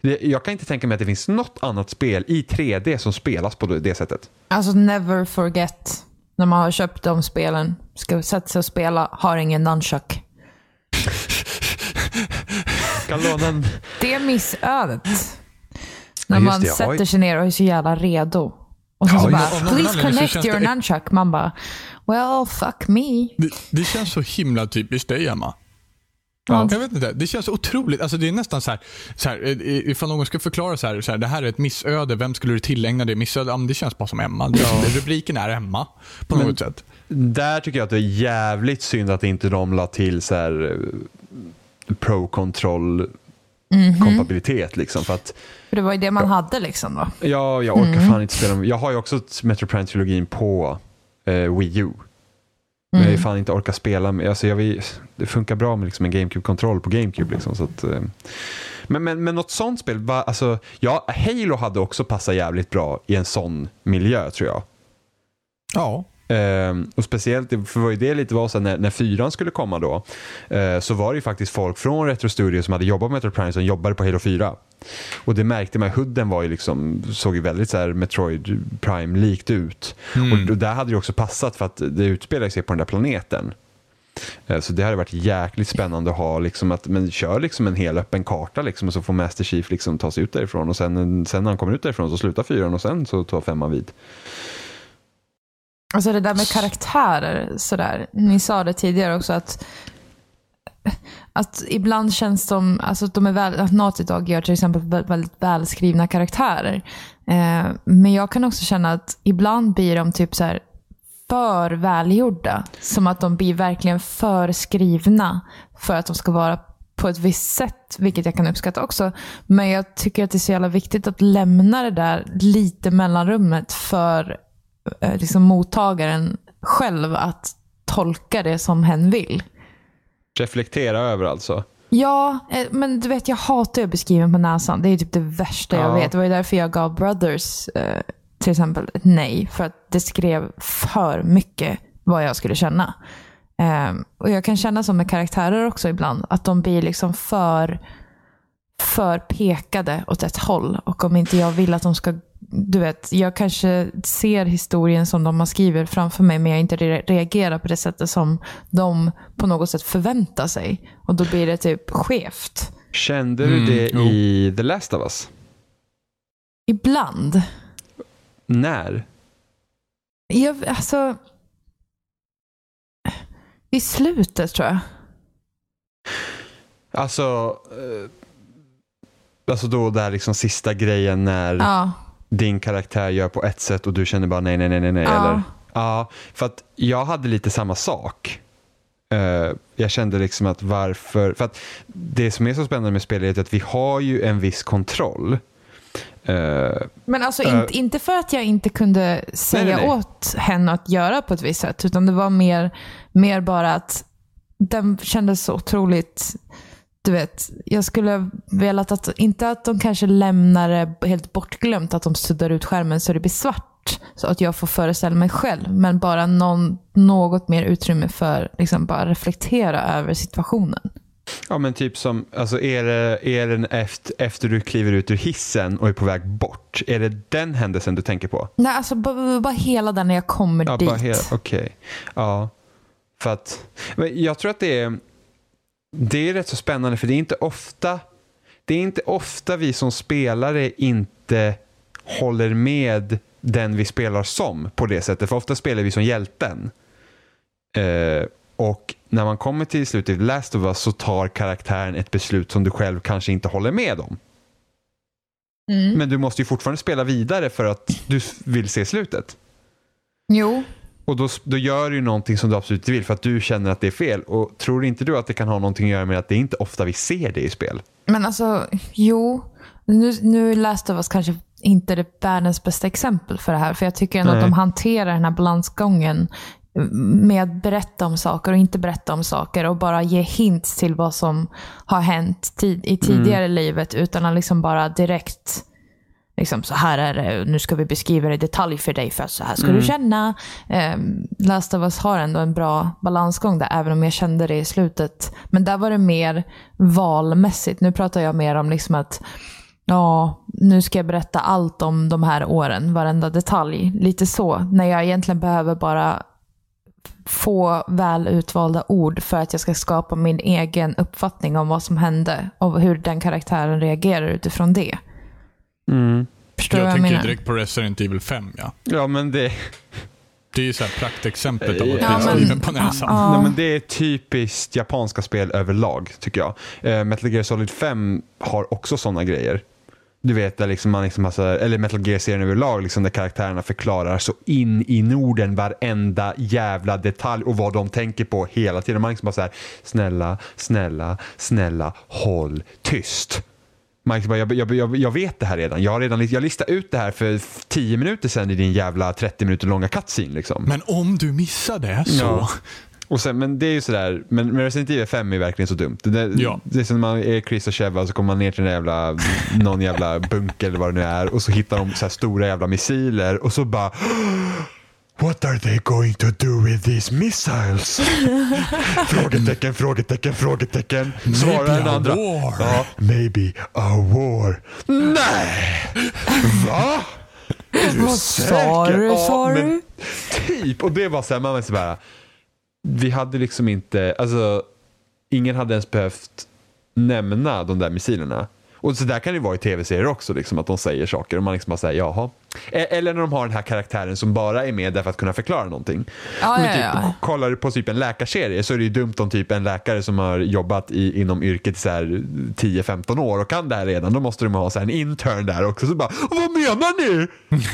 Speaker 1: Det- Jag kan inte tänka mig att det finns något annat spel i 3D som spelas på det sättet.
Speaker 3: Alltså never forget när man har köpt de spelen, ska sätta sig och spela, har ingen nunchuck.
Speaker 1: Kan låna en...
Speaker 3: Det är missödet.
Speaker 1: Ja,
Speaker 3: När
Speaker 1: just
Speaker 3: man
Speaker 1: det, jag har ju-
Speaker 3: sätter sig ner och är så jävla redo. Och sen
Speaker 2: Ja,
Speaker 3: så
Speaker 2: just-
Speaker 3: bara,
Speaker 2: av någon
Speaker 3: please
Speaker 2: anledning så
Speaker 3: connect
Speaker 2: känns
Speaker 3: your
Speaker 2: det-
Speaker 3: nunchuck. Man bara, well fuck me.
Speaker 2: Det, det känns så himla typiskt dig, Emma.
Speaker 1: Ja.
Speaker 2: Jag vet inte, det känns så otroligt. Alltså det är nästan så här, så här eh, ifall någon ska förklara så här, så här, det här är ett missöde, vem skulle du tillägna det missöde? Ja, men det känns bara som Emma. Det- Rubriken är Emma på något sätt.
Speaker 1: Där tycker jag att det är jävligt synd att inte de la till så här eh, pro control kompatibilitet liksom. För att
Speaker 3: För det var ju det man hade liksom då.
Speaker 1: ja, jag orkar fan inte spela dem. Jag har ju också ett Metro Prime-trilogin på eh, Wii U. Men
Speaker 3: Mm.
Speaker 1: jag har ju fan inte orkat spela med. Alltså jag vill, det funkar bra med liksom en GameCube-kontroll på GameCube. Liksom, så att, eh, men, men, men något sånt spel, va, alltså, ja, Halo hade också passat jävligt bra i en sån miljö tror jag.
Speaker 2: Ja.
Speaker 1: Ehm, och speciellt, för det var ju det lite var så här, när, när fyran skulle komma då, eh, så var det ju faktiskt folk från Retro Studio som hade jobbat med Metro Prime som jobbade på Halo 4. Och det märkte man, hooden var ju liksom, såg ju väldigt så här Metroid Prime-likt ut.
Speaker 2: Mm.
Speaker 1: Och, och där hade det också passat för att det utspelar sig på den där planeten. Eh, Så det hade varit jäkligt spännande att ha, liksom att, men kör liksom en hel öppen karta liksom, och så får Master Chief liksom ta sig ut därifrån och sen, sen när han kommer ut därifrån så slutar fyran och sen så tar femman vid.
Speaker 3: Alltså det där med karaktärer sådär. Ni sa det tidigare också att, att ibland känns de, alltså att de är väl, att Naughty Dog gör till exempel vä- väldigt välskrivna karaktärer. Eh, men jag kan också känna att ibland blir de typ så här för välgjorda. Som att de blir verkligen för skrivna för att de ska vara på ett visst sätt, vilket jag kan uppskatta också. Men jag tycker att det är så jävla viktigt att lämna det där lite mellanrummet för eh, liksom mottagaren själv att tolka det som hen vill.
Speaker 1: Reflektera över alltså.
Speaker 3: Ja, eh, men du vet jag hatar att beskriva på näsan. Det är typ det värsta
Speaker 1: Ja.
Speaker 3: jag vet. Det var ju därför jag gav Brothers eh, till exempel ett nej. För att det skrev för mycket vad jag skulle känna. Eh, och jag kan känna som med karaktärer också ibland. Att de blir liksom för, för pekade åt ett håll. Och om inte jag vill att de ska du vet, jag kanske ser historien som de har skrivit framför mig men jag inte re- reagerar på det sättet som de på något sätt förväntar sig. Och då blir det typ skevt.
Speaker 1: Kände du det
Speaker 2: jo.
Speaker 1: i The Last of Us?
Speaker 3: Ibland.
Speaker 1: När?
Speaker 3: Jag, alltså... I slutet tror jag.
Speaker 1: Alltså, eh, Alltså då där liksom sista grejen när
Speaker 3: Ja.
Speaker 1: din karaktär gör på ett sätt och du känner bara nej, nej, nej, nej, nej.
Speaker 3: Ja.
Speaker 1: Eller, ja, för att jag hade lite samma sak. Eh, jag kände liksom att varför, för att det som är så spännande med spel är att vi har ju en viss kontroll. Eh,
Speaker 3: Men alltså
Speaker 1: Eh.
Speaker 3: inte, inte för att jag inte kunde
Speaker 1: nej,
Speaker 3: säga
Speaker 1: nej.
Speaker 3: åt henne att göra på ett visst sätt, utan det var mer, mer bara att den kändes så otroligt, du vet, jag skulle velat att, inte att de kanske lämnar det helt bortglömt, att de suddar ut skärmen så det blir svart, så att jag får föreställa mig själv, men bara någon, något mer utrymme för liksom bara reflektera över situationen.
Speaker 1: Ja men typ som, alltså är det, är det en efter, efter du kliver ut ur hissen och är på väg bort, är det den händelsen du tänker på?
Speaker 3: Nej, alltså bara, bara hela den när jag kommer
Speaker 1: Ja,
Speaker 3: dit.
Speaker 1: bara hela- Okej. Ja. För att, men jag tror att det är, det är rätt så spännande för det är inte ofta, det är inte ofta vi som spelare inte håller med den vi spelar som på det sättet. För ofta spelar vi som hjälten. Eh, och när man kommer till slutet i Last of Us så tar karaktären ett beslut som du själv kanske inte håller med om.
Speaker 3: Mm.
Speaker 1: Men du måste ju fortfarande spela vidare för att du vill se slutet.
Speaker 3: Jo,
Speaker 1: Och då, då gör du ju någonting som du absolut inte vill för att du känner att det är fel. Och tror inte du att det kan ha någonting att göra med att det är inte ofta vi ser det i spel?
Speaker 3: Men alltså, jo. Nu, nu läste oss kanske inte det världens bästa exempel för det här. För jag tycker ändå
Speaker 1: Nej.
Speaker 3: att de hanterar den här balansgången mm, med att berätta om saker och inte berätta om saker och bara ge hints till vad som har hänt tid, i tidigare livet utan att liksom bara direkt liksom, så här är det, nu ska vi beskriva det i detalj för dig för att så här ska du känna. Eh, Last of Us har ändå en bra balansgång där, även om jag kände det i slutet. Men där var det mer valmässigt. Nu pratar jag mer om liksom att Ja, nu ska jag berätta allt om de här åren, varenda detalj. Lite så, när jag egentligen behöver bara få väl utvalda ord för att jag ska skapa min egen uppfattning om vad som hände och hur den karaktären reagerar utifrån det.
Speaker 1: Mm.
Speaker 3: Förstår du
Speaker 2: Jag
Speaker 3: vad jag
Speaker 2: tänker ju
Speaker 3: menar?
Speaker 2: direkt på Resident Evil 5. Ja.
Speaker 1: Ja, men det,
Speaker 2: Det är ju så här praktexemplet av att
Speaker 1: Ja,
Speaker 2: bli
Speaker 1: men-
Speaker 2: skriven på näsan.
Speaker 1: nej, men det är typiskt japanska spel överlag, tycker jag. Eh, Metal Gear Solid 5 har också sådana grejer. Du vet, där liksom man liksom har så här, eller Metal Gear-serien överlag, liksom där karaktärerna förklarar så in i Norden varenda jävla detalj och vad de tänker på hela tiden. Man liksom bara så här, snälla, snälla, snälla, håll tyst. Man liksom bara, jag, jag, jag, jag vet det här redan. Jag har redan jag listade ut det här för 10 minuter sedan i din jävla 30 minuter långa cutscene liksom.
Speaker 2: Men om du missar det så...
Speaker 1: Ja. Och sen, men det är ju sådär, men men Resident Evil 5 är verkligen så dumt. Det, det,
Speaker 2: Ja.
Speaker 1: det är som när man är Chris och Cheva så kommer man ner till den jävla, någon jävla bunker eller vad det nu är och så hittar de så här stora jävla missiler och så bara What are they going to do with these missiles? frågetecken, frågetecken, frågetecken. Svarar
Speaker 2: Maybe
Speaker 1: den
Speaker 2: a
Speaker 1: andra.
Speaker 2: war.
Speaker 1: Ja, maybe a war. Nej! Va? Är du
Speaker 3: Vad sa
Speaker 1: säker?
Speaker 3: du,
Speaker 1: Ja,
Speaker 3: sa
Speaker 1: men
Speaker 3: du?
Speaker 1: Typ, och det var så här, man var så här, vi hade liksom inte, alltså ingen hade ens behövt nämna de där missilerna. Och så där kan det vara i tv-serier också, liksom, att de säger saker och man liksom bara säger jaha. E- Eller när de har den här karaktären som bara är med därför att kunna förklara någonting.
Speaker 3: Ja,
Speaker 1: Men
Speaker 3: ja,
Speaker 1: typ,
Speaker 3: ja.
Speaker 1: Kollar du på typ en läkarserie så är det ju dumt om typ en läkare som har jobbat i, inom yrket i så här 10-15 år och kan det här redan. Då måste de ha så här en intern där också. Så bara, vad menar ni?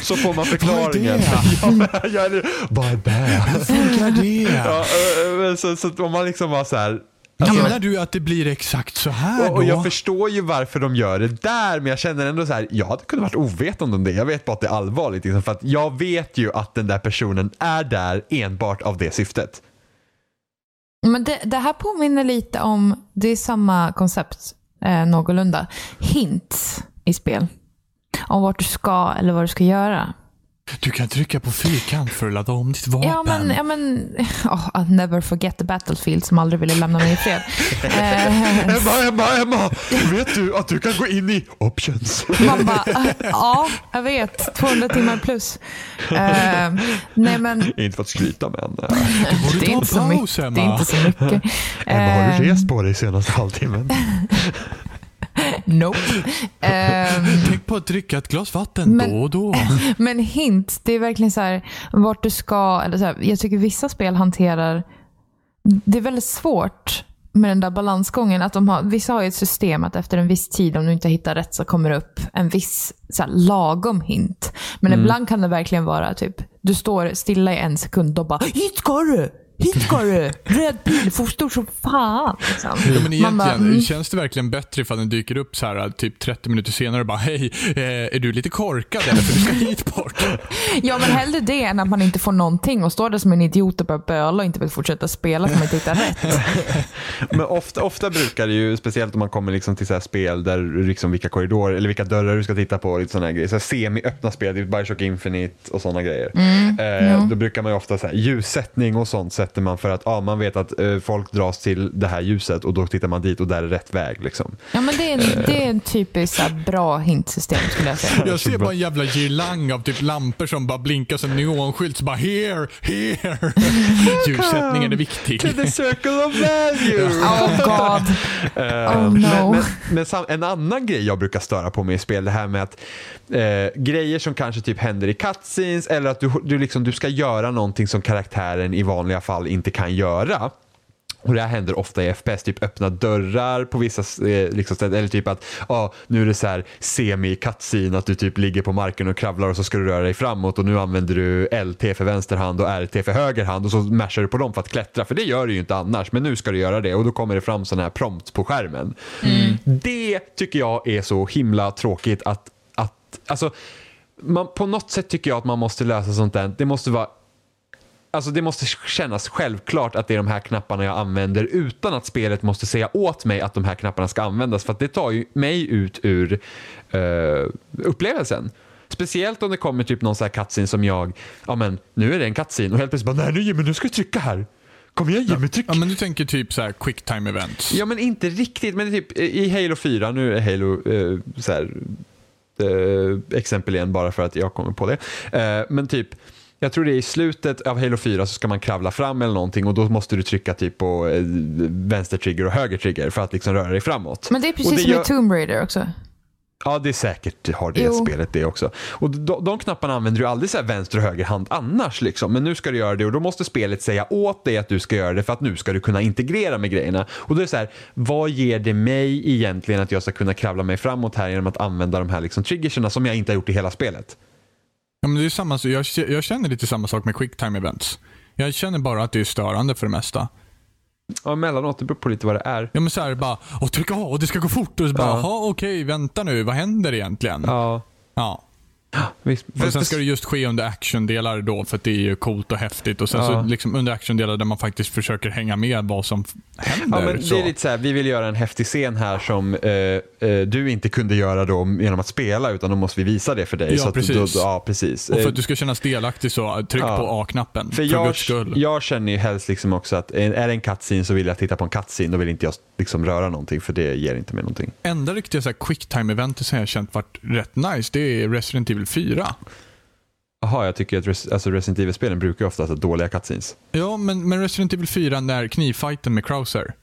Speaker 1: Så får man förklaringen. ja, men, jag är, vad är det?
Speaker 2: Funkar det?
Speaker 1: Ja, ö, ö, men så, så att om man liksom var så här.
Speaker 2: Menar du att det blir exakt så här
Speaker 1: Och,
Speaker 2: då?
Speaker 1: och jag förstår ju varför de gör det där, men jag känner ändå så här, jag hade kunnat varit ovetande om det. Jag vet bara att det är allvarligt. Liksom, för att jag vet ju att den där personen är där enbart av det syftet.
Speaker 3: Men det, det här påminner lite om, det är samma koncept eh, någorlunda, hints i spel. Om vart du ska eller vad du ska göra.
Speaker 2: Du kan trycka på fyrkant för att ladda om ditt vapen.
Speaker 3: Ja men, ja, men oh, I'll never forget the battlefield som aldrig ville lämna mig i fred. Eh,
Speaker 1: Emma, Emma, Emma! Vet du att du kan gå in i options?
Speaker 3: Man bara, "Ah, ja, jag vet. 200 timmar plus. Eh, nej men,
Speaker 1: inte för att skryta men.
Speaker 2: borde
Speaker 3: äh,
Speaker 2: ta
Speaker 3: det är,
Speaker 2: en
Speaker 3: inte så
Speaker 2: paus,
Speaker 3: mycket,
Speaker 2: Emma.
Speaker 3: det är inte så mycket.
Speaker 1: Emma, har
Speaker 3: Eh,
Speaker 1: du rest på dig senaste halvtimmen?
Speaker 3: Nope. Eh,
Speaker 2: Tänk på att dricka ett glas vatten
Speaker 3: Men-
Speaker 2: då och då.
Speaker 3: Men hint, det är verkligen så här vart du ska. Eller så här, jag tycker vissa spel hanterar... Det är väldigt svårt med den där balansgången. Att de har, vissa har ju ett system att efter en viss tid, om du inte hittar rätt, så kommer det upp en viss så här, lagom hint. Men
Speaker 2: Mm.
Speaker 3: ibland kan det verkligen vara typ, du står stilla i en sekund och bara “Hit ska du! Hit ska du! Röd pil, fostor som fan!” liksom.
Speaker 2: Ja, men
Speaker 3: Man bara,
Speaker 2: egentligen,
Speaker 3: mm.
Speaker 2: känns det verkligen bättre ifall den dyker upp så här typ 30 minuter senare och bara hej, eh, är du lite korkad eller? För du ska hit bort.
Speaker 3: mm, Ja, men hellre det än att man inte får någonting och står där som en idiot och börjar böla och inte vill fortsätta spela för man inte hittar rätt.
Speaker 1: Men ofta, ofta brukar det ju, speciellt om man kommer liksom till så här spel där du liksom vilka korridorer eller vilka dörrar du ska titta på. och Lite såna här grejer. Så här semi-öppna spel, typ Bioshock Infinite och sådana grejer.
Speaker 3: Mm,
Speaker 1: eh, Då brukar man ju ofta så här, ljussättning och sånt sätter man för att ja, man vet att eh, folk dras till det här ljuset och då tittar man dit och där är rätt väg. Liksom.
Speaker 3: Ja, men det är, en, det är en typiskt så här, bra hintsystem skulle jag säga.
Speaker 2: Jag ser bara en jävla girlang av typ lampor som bara blinkar som neonskylt. Så bara here, here. Ljussättningen är viktig.
Speaker 1: the circle of value!
Speaker 3: Oh god. Oh
Speaker 1: Eh, Men,
Speaker 3: no.
Speaker 1: men, men sam- en annan grej jag brukar störa på med i spel, det här med att eh, grejer som kanske typ händer i cutscenes eller att du, du, liksom, du ska göra någonting som karaktären i vanliga fall inte kan göra. Och Det här händer ofta i FPS, typ öppna dörrar på vissa eh, liksom ställen. Eller typ att ah, nu är det så här semi cutscene att du typ ligger på marken och kravlar och så ska du röra dig framåt och nu använder du LT för vänster hand och RT för höger hand och så mashar du på dem för att klättra. För det gör du ju inte annars, men nu ska du göra det och då kommer det fram sådana här prompts på skärmen. Det tycker jag är så himla tråkigt att, att alltså, man, på något sätt tycker jag att man måste lösa sånt där. Det måste vara Alltså det måste kännas självklart att det är de här knapparna jag använder utan att spelet måste säga åt mig att de här knapparna ska användas för att det tar ju mig ut ur eh, upplevelsen. Speciellt om det kommer typ någon sån här cutscene som jag, ja men nu är det en cutscene och helt plötsligt bara nej nu Jimmy nu ska du trycka här. Kom igen Jimmy tryck.
Speaker 2: Ja, men du tänker typ så här quick time events.
Speaker 1: Ja men inte riktigt, men det är typ i Halo 4, nu är Halo eh, så här, eh, exempel igen bara för att jag kommer på det. Eh, men typ, jag tror det är i slutet av Halo 4 så ska man kravla fram eller någonting och då måste du trycka typ på eh, vänster trigger och höger trigger för att liksom röra dig framåt.
Speaker 3: Men det är precis
Speaker 1: Och det
Speaker 3: som
Speaker 1: gör-
Speaker 3: i Tomb Raider också.
Speaker 1: Ja, det är säkert har det
Speaker 3: Jo.
Speaker 1: spelet det också. Och de, de knapparna använder du aldrig så här vänster och höger hand annars. Liksom. Men nu ska du göra det och då måste spelet säga åt dig att du ska göra det för att nu ska du kunna integrera med grejerna. Och då är det så här, vad ger det mig egentligen att jag ska kunna kravla mig framåt här genom att använda de här liksom, triggerserna som jag inte har gjort i hela spelet?
Speaker 2: Ja, men det är samma, jag, jag känner lite samma sak med quick time events. Jag känner bara att det är störande för det mesta.
Speaker 1: Ja, emellanåt, det beror på lite vad det är.
Speaker 2: Ja men såhär bara, åh tryck av och det ska gå fort. Och så bara,
Speaker 1: Ja.
Speaker 2: jaha okej vänta nu, vad händer egentligen? Ja.
Speaker 1: Ja, visst.
Speaker 2: Och sen ska det just ske under actiondelar då för att det är ju coolt och häftigt. Och sen
Speaker 1: Ja.
Speaker 2: så liksom under actiondelar där man faktiskt försöker hänga med vad som f- händer.
Speaker 1: Ja, men
Speaker 2: så.
Speaker 1: det är lite så här, vi vill göra en häftig scen här som eh, eh, du inte kunde göra då genom att spela utan då måste vi visa det för dig.
Speaker 2: Ja,
Speaker 1: så att du-
Speaker 2: precis.
Speaker 1: Då, ja, precis.
Speaker 2: Och för
Speaker 1: Eh,
Speaker 2: att du ska kännas delaktig så eh, tryck
Speaker 1: Ja.
Speaker 2: på A-knappen.
Speaker 1: För
Speaker 2: för
Speaker 1: jag,
Speaker 2: guds skull.
Speaker 1: jag känner ju helst liksom också att eh, är det en cutscene så vill jag titta på en cutscene Då vill inte jag liksom röra någonting för det ger inte mig någonting.
Speaker 2: Enda riktiga så här quick time eventet som jag har känt varit rätt nice, det är Resident Evil 4.
Speaker 1: Jaha, jag tycker att Res- alltså Resident Evil-spelen brukar ju ofta ha dåliga cutscenes.
Speaker 2: Ja, men, men Resident Evil 4 när knivfighten med Krauser.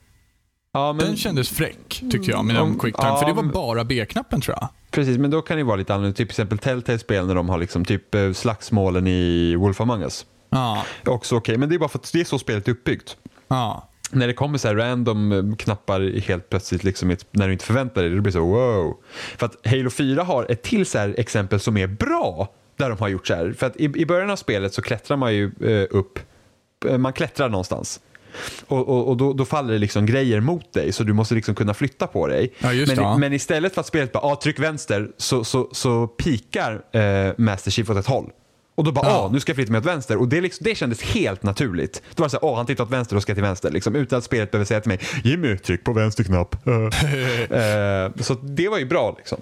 Speaker 1: Ja, men,
Speaker 2: Den kändes fräck tyckte jag med
Speaker 1: Mm,
Speaker 2: den quick time.
Speaker 1: ja,
Speaker 2: för det var
Speaker 1: men-
Speaker 2: bara B-knappen tror jag.
Speaker 1: Precis, men då kan det ju vara lite annorlunda. Typ till exempel Telltale-spel när de har liksom, typ eh, slagsmålen i Wolf Among Us.
Speaker 2: Ja,
Speaker 1: Också okej, men det är bara för att det är så spelet är uppbyggt.
Speaker 2: ja.
Speaker 1: när det kommer så här random eh, knappar helt plötsligt liksom, i ett- när du inte förväntar dig det, det blir så wow. För att Halo 4 har ett till så här exempel som är bra där de har gjort så här. För att i, i början av spelet så klättrar man ju eh, upp, eh, man klättrar någonstans. Och, och, och då, då faller det liksom grejer mot dig så du måste liksom kunna flytta på dig.
Speaker 2: Ja, just
Speaker 1: men,
Speaker 2: det, ja.
Speaker 1: men istället för att spelet bara ah, tryck vänster så, så, så pikar eh, Master Chief åt ett håll. Och då bara,
Speaker 2: Ja.
Speaker 1: ah, nu ska jag flytta mig åt vänster. Och det, liksom, det kändes helt naturligt. Det var så här, ah, han tittar åt vänster och ska till vänster. Liksom, utan att spelet behöver säga till mig, Jimmy, tryck på vänster knapp. Eh, så det var ju bra. Liksom.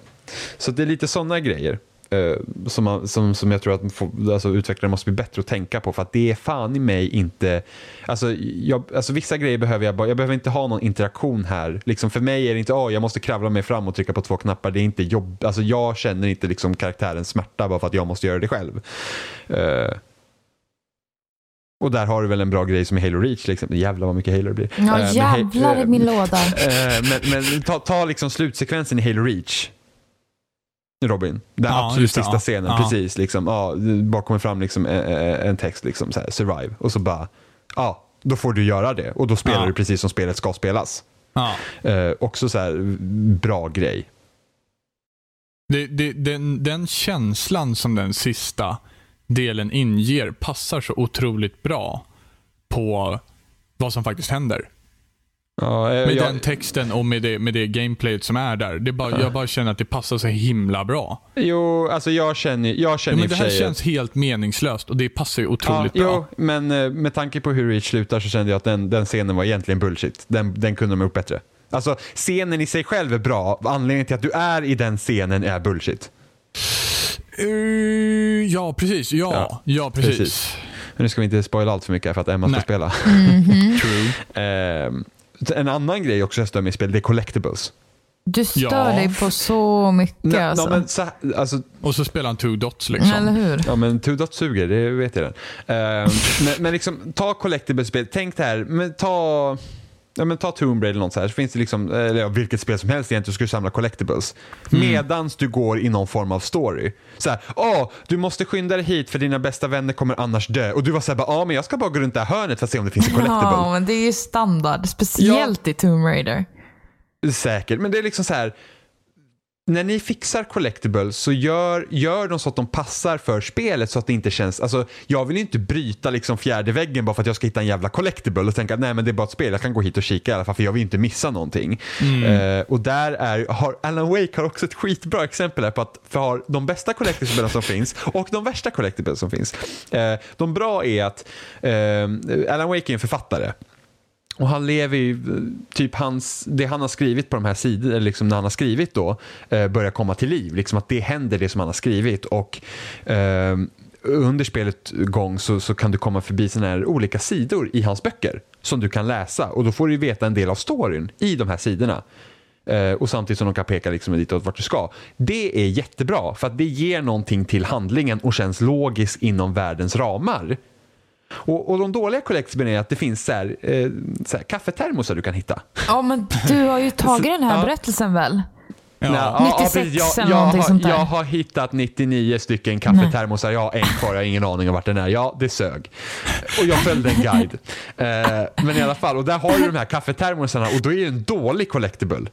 Speaker 1: Så det är lite sådana grejer. eh, som, man, som, som jag tror att få- alltså, utvecklare måste bli bättre att tänka på för att det är fan i mig inte... Alltså, jag, alltså vissa grejer behöver jag bara, jag behöver inte ha någon interaktion här. Liksom, för mig är det inte, åh jag måste kravla mig fram och trycka på två knappar. Det är inte jobb, alltså jag känner inte liksom karaktärens smärta bara för att jag måste göra det själv. Eh, och där har du väl en bra grej som i Halo Reach till exempel. Jävlar vad mycket Halo det blir. Eh,
Speaker 3: Ja,
Speaker 1: men he-
Speaker 3: jävlar i
Speaker 1: eh,
Speaker 3: min låda.
Speaker 1: Eh, men men ta, ta liksom slutsekvensen i Halo Reach. Robin, den
Speaker 2: Ja,
Speaker 1: absolut
Speaker 2: just det,
Speaker 1: sista
Speaker 2: ja.
Speaker 1: scenen.
Speaker 2: Ja.
Speaker 1: Precis, liksom, ja, bara kommer fram liksom, eh, eh, en text, liksom, så här, survive. Och så bara, ja, då får du göra det. Och då spelar
Speaker 2: Ja.
Speaker 1: du precis som spelet ska spelas.
Speaker 2: Ja.
Speaker 1: Eh, också så här, bra grej.
Speaker 2: Det, det, den, den känslan som den sista delen inger passar så otroligt bra på vad som faktiskt händer.
Speaker 1: Ja, eh,
Speaker 2: Med
Speaker 1: jag,
Speaker 2: den texten och med det, med det gameplayet som är där. Det är bara, jag bara känner att det passar så himla bra.
Speaker 1: jo, alltså jag känner, jag
Speaker 2: Ja,
Speaker 1: känner i
Speaker 2: men
Speaker 1: och
Speaker 2: det
Speaker 1: för
Speaker 2: här
Speaker 1: sig...
Speaker 2: känns helt meningslöst och det passar ju otroligt
Speaker 1: ja,
Speaker 2: bra.
Speaker 1: Jo, men eh, med tanke på hur Reach slutar så kände jag att den, den scenen var egentligen bullshit. Den, den kunde de ha gjort bättre. Alltså scenen i sig själv är bra. Anledningen till att du är i den scenen är bullshit.
Speaker 2: Eh, ja, precis. Ja,
Speaker 1: Ja,
Speaker 2: ja, precis.
Speaker 1: precis. Nu ska vi inte spoila allt för mycket här för att Emma ska
Speaker 2: Nej.
Speaker 1: spela.
Speaker 3: Mm.
Speaker 2: True.
Speaker 1: Ehm, en annan grej också jag stör mig i spel, det är collectibles.
Speaker 3: Du stör
Speaker 2: Ja.
Speaker 3: dig på så mycket
Speaker 1: Nej,
Speaker 3: alltså.
Speaker 1: nej, men, så, här- alltså,
Speaker 2: Och så spelar han two dots liksom.
Speaker 3: Eller hur?
Speaker 1: Ja men Tudot suger, det vet jag den. Ehm, men, men liksom, ta collectible spel, tänk det här, men ta, ja, men ta Tomb Raider eller något så här, så finns det liksom, eller ja, vilket spel som helst egentligen, du ska du samla collectibles.
Speaker 3: Mm.
Speaker 1: Medans du går i någon form av story. Så här, åh, du måste skynda dig hit för dina bästa vänner kommer annars dö. Och du var såhär, ja men jag ska bara gå runt det här hörnet för att se om det finns en collectible.
Speaker 3: Ja, men det är ju standard. Speciellt i Tomb Raider.
Speaker 1: Säkert, men det är liksom så här. När ni fixar collectibles så gör, gör de så att de passar för spelet så att det inte känns, alltså jag vill ju inte bryta liksom fjärde väggen bara för att jag ska hitta en jävla collectible och tänka att nej men det är bara ett spel, jag kan gå hit och kika i alla fall för jag vill ju inte missa någonting. Eh, och där är, har, Alan Wake har också ett skitbra exempel här på att för har de bästa collectibles som finns och de värsta collectibles som finns. Eh, de bra är att eh, Alan Wake är en författare. Och han lever ju, typ hans, det han har skrivit på de här sidorna, liksom när han har skrivit då, eh, börjar komma till liv. Liksom att det händer det som han har skrivit. Och eh, under spelet gång så, så kan du komma förbi såna här olika sidor i hans böcker som du kan läsa. Och då får du ju veta en del av storyn i de här sidorna. Eh, och samtidigt som de kan peka liksom ditåt vart du ska. Det är jättebra för att det ger någonting till handlingen och känns logiskt inom världens ramar. Och, och de dåliga collectibles är att det finns så här, eh, så här, kaffetermosar du kan hitta.
Speaker 3: Ja, men du har ju tagit den här
Speaker 1: Ja.
Speaker 3: berättelsen väl?
Speaker 2: Ja.
Speaker 1: Nej, ja,
Speaker 3: 96
Speaker 1: precis. jag,
Speaker 3: eller
Speaker 1: jag,
Speaker 3: någonting
Speaker 1: har,
Speaker 3: sånt där.
Speaker 1: jag har hittat 99 stycken kaffetermosar, jag har en kvar, jag har ingen aning om vart den är. Ja, det sög. Och jag följde en guide. Eh, men i alla fall, och där har du de här kaffetermosarna och då är det en dålig collectible.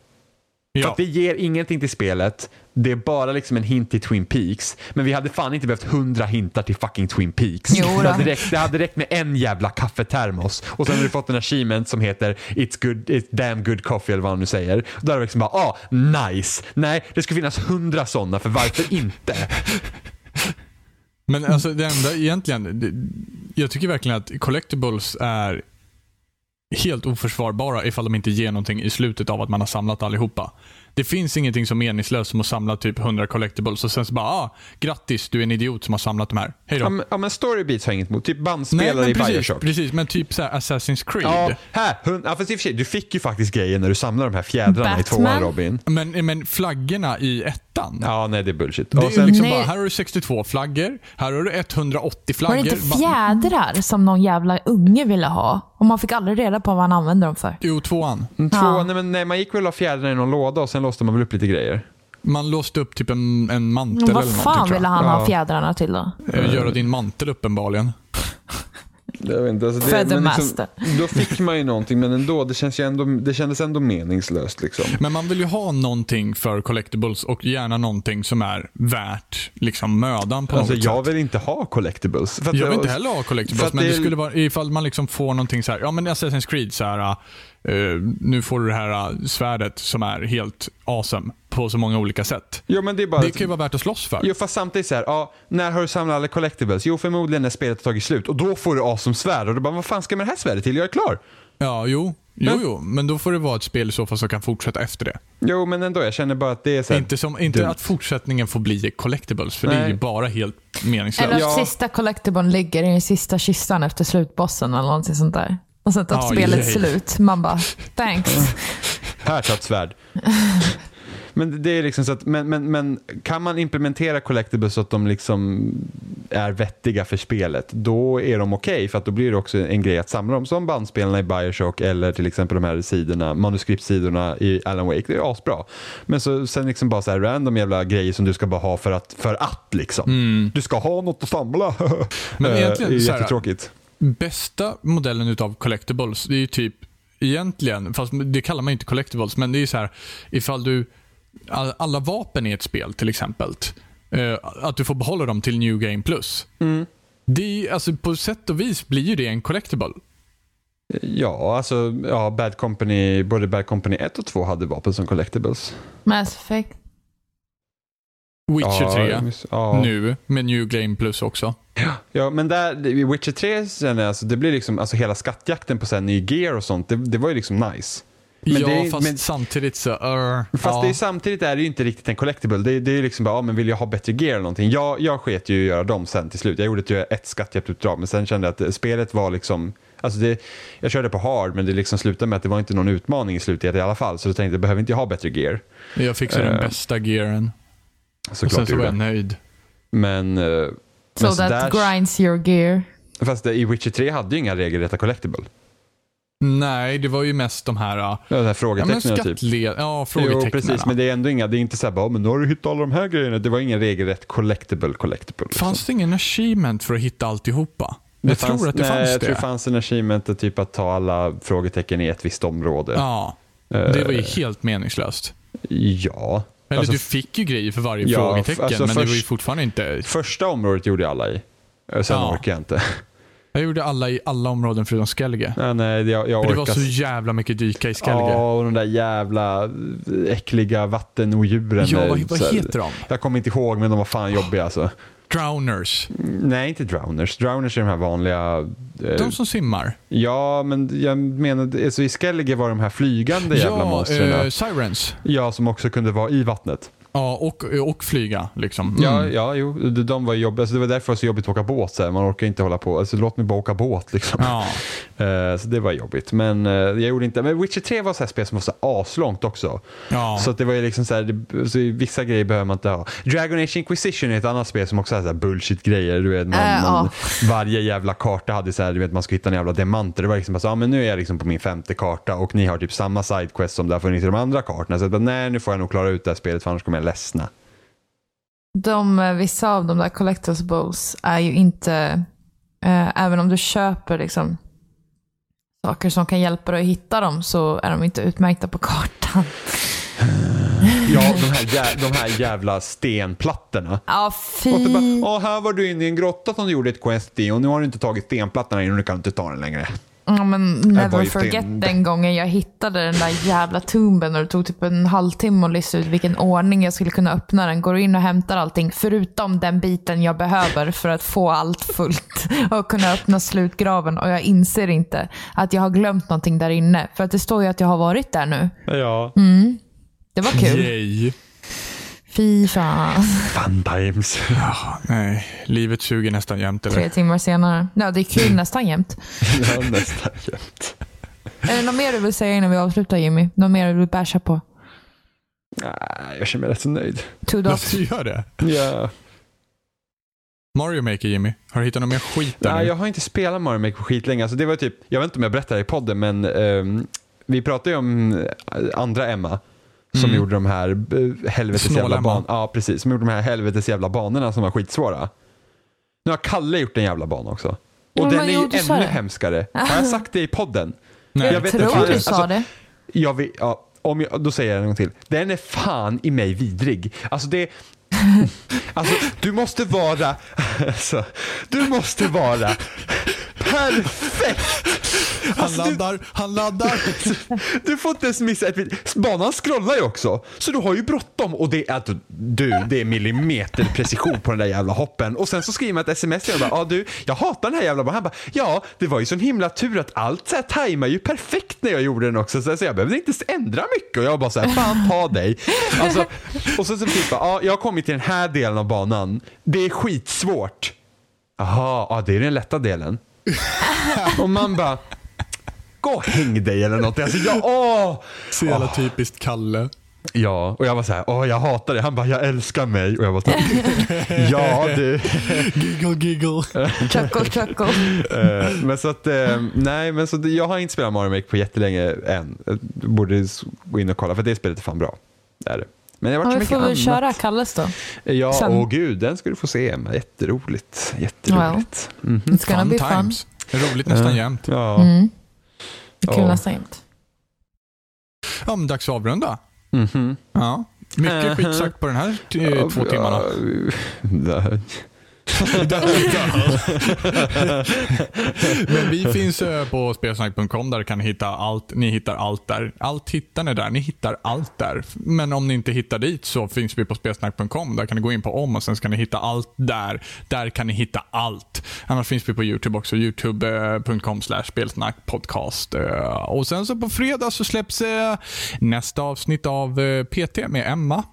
Speaker 1: För
Speaker 2: Ja.
Speaker 1: att det ger ingenting till spelet, det är bara liksom en hint till Twin Peaks. Men vi hade fan inte behövt hundra hintar till fucking Twin Peaks.
Speaker 3: Jo då.
Speaker 1: det, hade räckt, det hade räckt med en jävla kaffetermos. Och sen har du fått en achievement som heter It's, good, it's damn good coffee eller vad han nu säger. Och då hade du liksom bara, ah, nice. Nej, det skulle finnas hundra sådana, för varför inte?
Speaker 2: Men alltså det enda egentligen, det, jag tycker verkligen att collectibles är helt oförsvarbara ifall de inte ger någonting i slutet av att man har samlat allihopa. Det finns ingenting så meningslöst som att samla typ 100 collectibles och sen så bara ah, grattis du är en idiot som har samlat de här. Hej då.
Speaker 1: Ja, men, ja, men story beats har jag inget emot. Typ
Speaker 2: Nej
Speaker 1: bandspelare
Speaker 2: men
Speaker 1: i
Speaker 2: precis,
Speaker 1: Bioshock.
Speaker 2: precis, men typ så här Assassin's Creed.
Speaker 1: Ja, här. Hund, ja, fast i och för sig, du fick ju faktiskt grejen när du samlade de här fjädrarna i tvåan
Speaker 3: Batman.
Speaker 1: Robin.
Speaker 2: Men, men flaggorna i ettan.
Speaker 1: Ja, nej det är bullshit.
Speaker 2: Det
Speaker 1: Och
Speaker 2: är
Speaker 1: sen-
Speaker 2: ju liksom
Speaker 3: Nej.
Speaker 2: bara, här har du 62 flaggor, här har du 180
Speaker 3: Var
Speaker 2: flaggor.
Speaker 3: det inte
Speaker 2: Bara-
Speaker 3: fjädrar som någon jävla unge ville ha? Och man fick aldrig reda på vad han använde dem för.
Speaker 2: Jo, tvåan.
Speaker 1: Två,
Speaker 3: Ja.
Speaker 1: nej, men, nej, man gick väl och la fjädrarna i någon låda och sen låste man väl upp lite grejer.
Speaker 2: Man låste upp typ en, en mantel
Speaker 3: Men
Speaker 2: eller
Speaker 3: vad
Speaker 2: någonting
Speaker 3: fan
Speaker 2: tror jag.
Speaker 3: ville han
Speaker 1: Ja.
Speaker 3: ha fjädrarna till då?
Speaker 2: Eh, göra din mantel uppenbarligen.
Speaker 1: Jag vet inte, alltså
Speaker 3: För the master.
Speaker 1: då fick man ju någonting men ändå, det, känns ju ändå, det kändes ändå meningslöst. Liksom.
Speaker 2: Men man vill ju ha någonting för collectibles och gärna någonting som är värt liksom mödan på
Speaker 1: Alltså,
Speaker 2: något
Speaker 1: jag
Speaker 2: sätt.
Speaker 1: vill inte ha collectibles. För att
Speaker 2: Jag
Speaker 1: det-
Speaker 2: vill inte heller ha
Speaker 1: för
Speaker 2: collectibles,
Speaker 1: att
Speaker 2: men det
Speaker 1: det-
Speaker 2: skulle vara ifall man liksom får någonting så här, ja men Assassin's Creed så här, eh, nu får du det här eh, svärdet som är helt awesome på så många olika sätt.
Speaker 1: Jo, men det är bara...
Speaker 2: Det kan ju vara värt att slåss för.
Speaker 1: Jo, fast samtidigt så här, ja, när har du samlat alla collectibles? Jo, förmodligen när spelet har tagit slut och då får du as som svärd och du bara, vad fan ska jag med det här svärdet till? Jag är klar.
Speaker 2: Ja, jo. Jo, jo, men då får det vara ett spel i så fall som kan fortsätta efter det.
Speaker 1: Jo, men ändå, jag känner bara att det är så här,
Speaker 2: Inte, som, inte
Speaker 1: dumt.
Speaker 2: att fortsättningen får bli collectibles, för det är
Speaker 1: Nej.
Speaker 2: ju bara helt meningslöst.
Speaker 3: Eller att
Speaker 1: Ja.
Speaker 3: sista collectiblen ligger i den sista kistan efter slutbossen eller någonting sånt där. Och sen tar
Speaker 2: Ja,
Speaker 3: spelet
Speaker 2: yay.
Speaker 3: slut. Man bara, thanks.
Speaker 1: Här ta ett svärd. Men det är liksom så att, men, men, men kan man implementera collectibles så att de liksom är vettiga för spelet, då är de okej för att då blir det också en grej att samla dem som bandspelarna i Bioshock eller till exempel de här sidorna, manuskriptsidorna i Alan Wake, det är asbra. Men så, sen liksom bara så här random jävla grejer som du ska bara ha för att, för att liksom. Du ska ha något att samla.
Speaker 2: Mm. Men
Speaker 1: Eh,
Speaker 2: egentligen
Speaker 1: det är
Speaker 2: så här-
Speaker 1: jättetråkigt.
Speaker 2: bästa modellen utav collectibles, det är ju typ egentligen, fast det kallar man ju inte collectibles, men det är ju så här ifall du, all- alla vapen i ett spel till exempel, eh, att du får behålla dem till New Game Plus.
Speaker 1: Mm.
Speaker 2: Det är, ju- alltså, på sätt och vis blir ju det en collectible.
Speaker 1: Ja, alltså ja, Bad Company, både Bad Company 1 och 2 hade vapen som collectibles.
Speaker 3: Mass Effect.
Speaker 2: Witcher
Speaker 1: ja,
Speaker 2: 3
Speaker 1: jag miss- ja.
Speaker 2: nu med New Game Plus också.
Speaker 1: Ja, men där, i Witcher 3 sen, alltså, det blir liksom, alltså hela skattjakten på sen, ny gear och sånt, det, det var ju liksom nice. Men
Speaker 2: ja,
Speaker 1: det är-
Speaker 2: fast
Speaker 1: men-
Speaker 2: samtidigt så... Uh,
Speaker 1: Fast
Speaker 2: ja.
Speaker 1: det är, samtidigt är det ju inte riktigt en collectible. Det, är- det är ju liksom bara, ja, men vill jag ha bättre gear eller någonting? Jag, jag sket ju i att göra dem sen till slut. Jag gjorde typ ett, ett skattjaktuppdrag men sen kände jag att eh, spelet var liksom, alltså det, jag körde på hard men det liksom slutade med att det var inte någon utmaning i slutet i alla fall. Så då tänkte jag, behöver inte jag ha bättre gear?
Speaker 2: Jag fixade den
Speaker 1: Eh,
Speaker 2: bästa gearen. Och
Speaker 1: Såklart
Speaker 2: sen så
Speaker 1: gjorde
Speaker 2: var jag
Speaker 1: jag.
Speaker 2: nöjd.
Speaker 1: Men, eh, men
Speaker 3: So
Speaker 1: så
Speaker 3: that
Speaker 1: där-
Speaker 3: grinds your gear.
Speaker 1: Fast det, i Witcher 3 hade ju inga regelrätta collectible.
Speaker 2: Nej, det var ju mest de här... Uh,
Speaker 1: Ja, den här
Speaker 2: ja, men
Speaker 1: frågetecknen typ.
Speaker 2: skattled... Ja,
Speaker 1: Jo,
Speaker 2: frågetecknen.
Speaker 1: precis. Men det är ändå inga, det är inte så här bara, "Ja, men nu har du hittat alla de här grejerna. Det var ingen regelrätt collectible collectible. liksom.
Speaker 2: Fanns det ingen achievement för att hitta alltihopa?
Speaker 1: Det
Speaker 2: jag
Speaker 1: fanns-
Speaker 2: tror att det
Speaker 1: nej,
Speaker 2: fanns
Speaker 1: jag
Speaker 2: det.
Speaker 1: tror det fanns en achievement att typ att ta alla frågetecken i ett visst område.
Speaker 2: Ja, det var ju helt meningslöst.
Speaker 1: Ja.
Speaker 2: Eller
Speaker 1: Eh, Alltså,
Speaker 2: du fick ju grejer för varje
Speaker 1: Ja,
Speaker 2: frågetecken,
Speaker 1: alltså
Speaker 2: men det var ju
Speaker 1: först-
Speaker 2: fortfarande inte...
Speaker 1: Första området gjorde jag alla i. Eh, Sen
Speaker 2: Ja.
Speaker 1: orkar jag inte.
Speaker 2: Jag gjorde alla i alla områden förutom Skellige.
Speaker 1: nej, nej, jag, jag
Speaker 2: För det
Speaker 1: orkar.
Speaker 2: var så jävla mycket dyka i Skellige.
Speaker 1: Ja, och de där jävla eh, äckliga vattenodjuren.
Speaker 2: ja, vad,
Speaker 1: eh,
Speaker 2: vad
Speaker 1: så här-
Speaker 2: heter de?
Speaker 1: Jag kommer inte ihåg, men de var fan jobbiga alltså.
Speaker 2: Drowners.
Speaker 1: Nej, inte drowners. Drowners är de här vanliga... eh,
Speaker 2: De som simmar.
Speaker 1: Ja, men jag menar, alltså, i Skellige var de här flygande jävla
Speaker 2: ja,
Speaker 1: monstren.
Speaker 2: eh, Sirens.
Speaker 1: Ja, som också kunde vara i vattnet.
Speaker 2: Ja, och, och flyga liksom.
Speaker 1: Ja, ja jo, de, de var jobbiga. Alltså, det var därför det var så jobbigt att åka båt. Så här. Man orkar inte hålla på. Alltså, låt mig bara åka båt. Liksom.
Speaker 2: Ja.
Speaker 1: Eh, så det var jobbigt. Men eh, jag gjorde inte. Men Witcher 3 var så här spel som var så här aslångt också.
Speaker 2: Ja.
Speaker 1: Så att det var ju liksom så här, det, så i vissa grejer behöver man inte ha. Dragon Age Inquisition är ett annat spel som också har så här bullshit-grejer. Du vet, man,
Speaker 3: Äh, ja.
Speaker 1: man, Varje jävla karta hade så här, du vet, man skulle hitta en jävla diamant. Och Det var liksom bara så, ah, men nu är jag liksom på min femte karta och ni har typ samma sidequest som det har funnits i de andra kartorna. Så jag bara, nej, nu får jag nog klara ut det här spelet för annars kommer jag ledsna.
Speaker 3: De, eh, vissa av de där collectibles är ju inte, eh, även om du köper liksom, saker som kan hjälpa dig att hitta dem så är de inte utmärkta på kartan.
Speaker 1: Ja, de här, jä- de här jävla stenplattorna.
Speaker 3: Ja,
Speaker 1: Och det bara,
Speaker 3: fy.
Speaker 1: "Ja, här var du inne i en grotta som du gjorde ett quest i och nu har du inte tagit stenplattorna in och nu kan du inte ta den längre.
Speaker 3: Ja, men
Speaker 1: var
Speaker 3: never
Speaker 1: ju
Speaker 3: forget
Speaker 1: synd.
Speaker 3: den gången jag hittade den där jävla tumben och det tog typ en halvtimme att lista ut vilken ordning jag skulle kunna öppna den. Går in och hämtar allting förutom den biten jag behöver för att få allt fullt och kunna öppna slutgraven. Och jag inser inte att jag har glömt någonting där inne. För att det står ju att jag har varit där nu.
Speaker 1: Ja.
Speaker 3: Mm. Det var kul.
Speaker 2: Yay.
Speaker 3: Fy fan.
Speaker 1: Fun times.
Speaker 2: Ah, Nej, livet suger nästan jämt. Eller?
Speaker 3: Tre timmar senare. Ja, det är
Speaker 1: Mm.
Speaker 3: kul nästan jämt.
Speaker 1: ja, nästan jämt.
Speaker 3: Är det något mer du vill säga innan vi avslutar Jimmy? Något mer du vill basha på?
Speaker 1: Nej, jag känner mig rätt så nöjd.
Speaker 3: Two dots.
Speaker 2: Varför gör det?
Speaker 1: Ja.
Speaker 2: Mario Maker Jimmy, har du hittat någon mer skit där
Speaker 1: Nej,
Speaker 2: nu?
Speaker 1: jag har inte spelat Mario Maker på skitlänge. Alltså, det var typ, jag vet inte om jag berättade det i podden, men ehm, vi pratade ju om eh, andra Emma. Som
Speaker 2: Mm.
Speaker 1: gjorde de här eh, helvetes jävla
Speaker 2: Snål-Emma.
Speaker 1: banorna. Ja, precis. Som gjorde de här helvetes jävla banorna som var skitsvåra. Nu har Kalle gjort en jävla bana också. Och
Speaker 3: Ja,
Speaker 1: den
Speaker 3: men
Speaker 1: är ju
Speaker 3: jo, du sa
Speaker 1: ännu
Speaker 3: det.
Speaker 1: hemskare. Har jag sagt det i podden?
Speaker 2: Nej.
Speaker 1: jag
Speaker 3: Jag
Speaker 1: vet inte
Speaker 3: tror
Speaker 1: vad det är.
Speaker 3: du sa
Speaker 1: Alltså,
Speaker 3: det.
Speaker 1: Jag vill, ja, om jag, då säger jag det en gång till. Den är fan i mig vidrig. Alltså det... Alltså, du måste vara... Alltså, du måste vara perfekt.
Speaker 2: Han
Speaker 1: Alltså,
Speaker 2: laddar, han laddar.
Speaker 1: Du får inte ens missa ett bit. Banan scrollar ju också, så du har ju bråttom. Och det är, alltså, du, det är millimeterprecision på den där jävla hoppen. Och sen så skriver man ett sms till honom. bara, Ja du, jag hatar den här jävla banan. Han bara, ja, det var ju sån himla tur att allt så här tajmar ju perfekt när jag gjorde den också. Så, så jag behövde inte ändra mycket. Och jag bara så här, fan ta dig. Alltså, och så, så typ, bara, ja, jag har kommit till den här delen av banan. Det är skitsvårt. Jaha, ja, det är den lätta delen. Och man bara, gå och häng dig eller något. Alltså, jag, åh!
Speaker 2: Så jävla
Speaker 1: Ah.
Speaker 2: typiskt Kalle.
Speaker 1: Ja, och jag var så här, åh jag hatar det. Han bara, jag älskar mig. Och jag var så här, ja du.
Speaker 2: Giggle, giggle.
Speaker 3: Chuckle, chuckle.
Speaker 1: Eh, men så att, eh, nej men så det, jag har inte spelat Mario Maker på jättelänge än. Jag borde s- gå in och kolla för det spelet är fan bra. Det är det. Men det har
Speaker 3: Ja,
Speaker 1: varit
Speaker 3: vi
Speaker 1: så
Speaker 3: får väl
Speaker 1: mycket annat.
Speaker 3: köra Kalles då.
Speaker 1: Ja,
Speaker 3: sen.
Speaker 1: åh gud, den ska du få se Emma. Jätteroligt. Jätteroligt. Mm.
Speaker 3: It's gonna
Speaker 2: Fun
Speaker 3: be fun.
Speaker 2: times. Roligt
Speaker 1: Eh.
Speaker 2: nästan jämt.
Speaker 1: Ja.
Speaker 3: Mm. Det är Kul
Speaker 1: Ja.
Speaker 3: nästan jämt.
Speaker 2: Ja, men dags att avrunda.
Speaker 1: Mhm.
Speaker 2: Ja.
Speaker 1: Mhm.
Speaker 2: Mycket skit sagt på den här t- två timmarna.
Speaker 1: Ja,
Speaker 2: Men vi finns eh, på spelsnack.com där du kan hitta allt. Ni hittar allt där. Allt hittar ni där. Ni hittar allt där. Men om ni inte hittar dit så finns vi på spelsnack.com. Där kan ni gå in på om och sen ska ni hitta allt där. Där kan ni hitta allt. Annars finns vi på YouTube också. Youtube.com spelsnackpodcast. Eh, Och sen så på fredag så släpps eh, nästa avsnitt av eh, PT med Emma.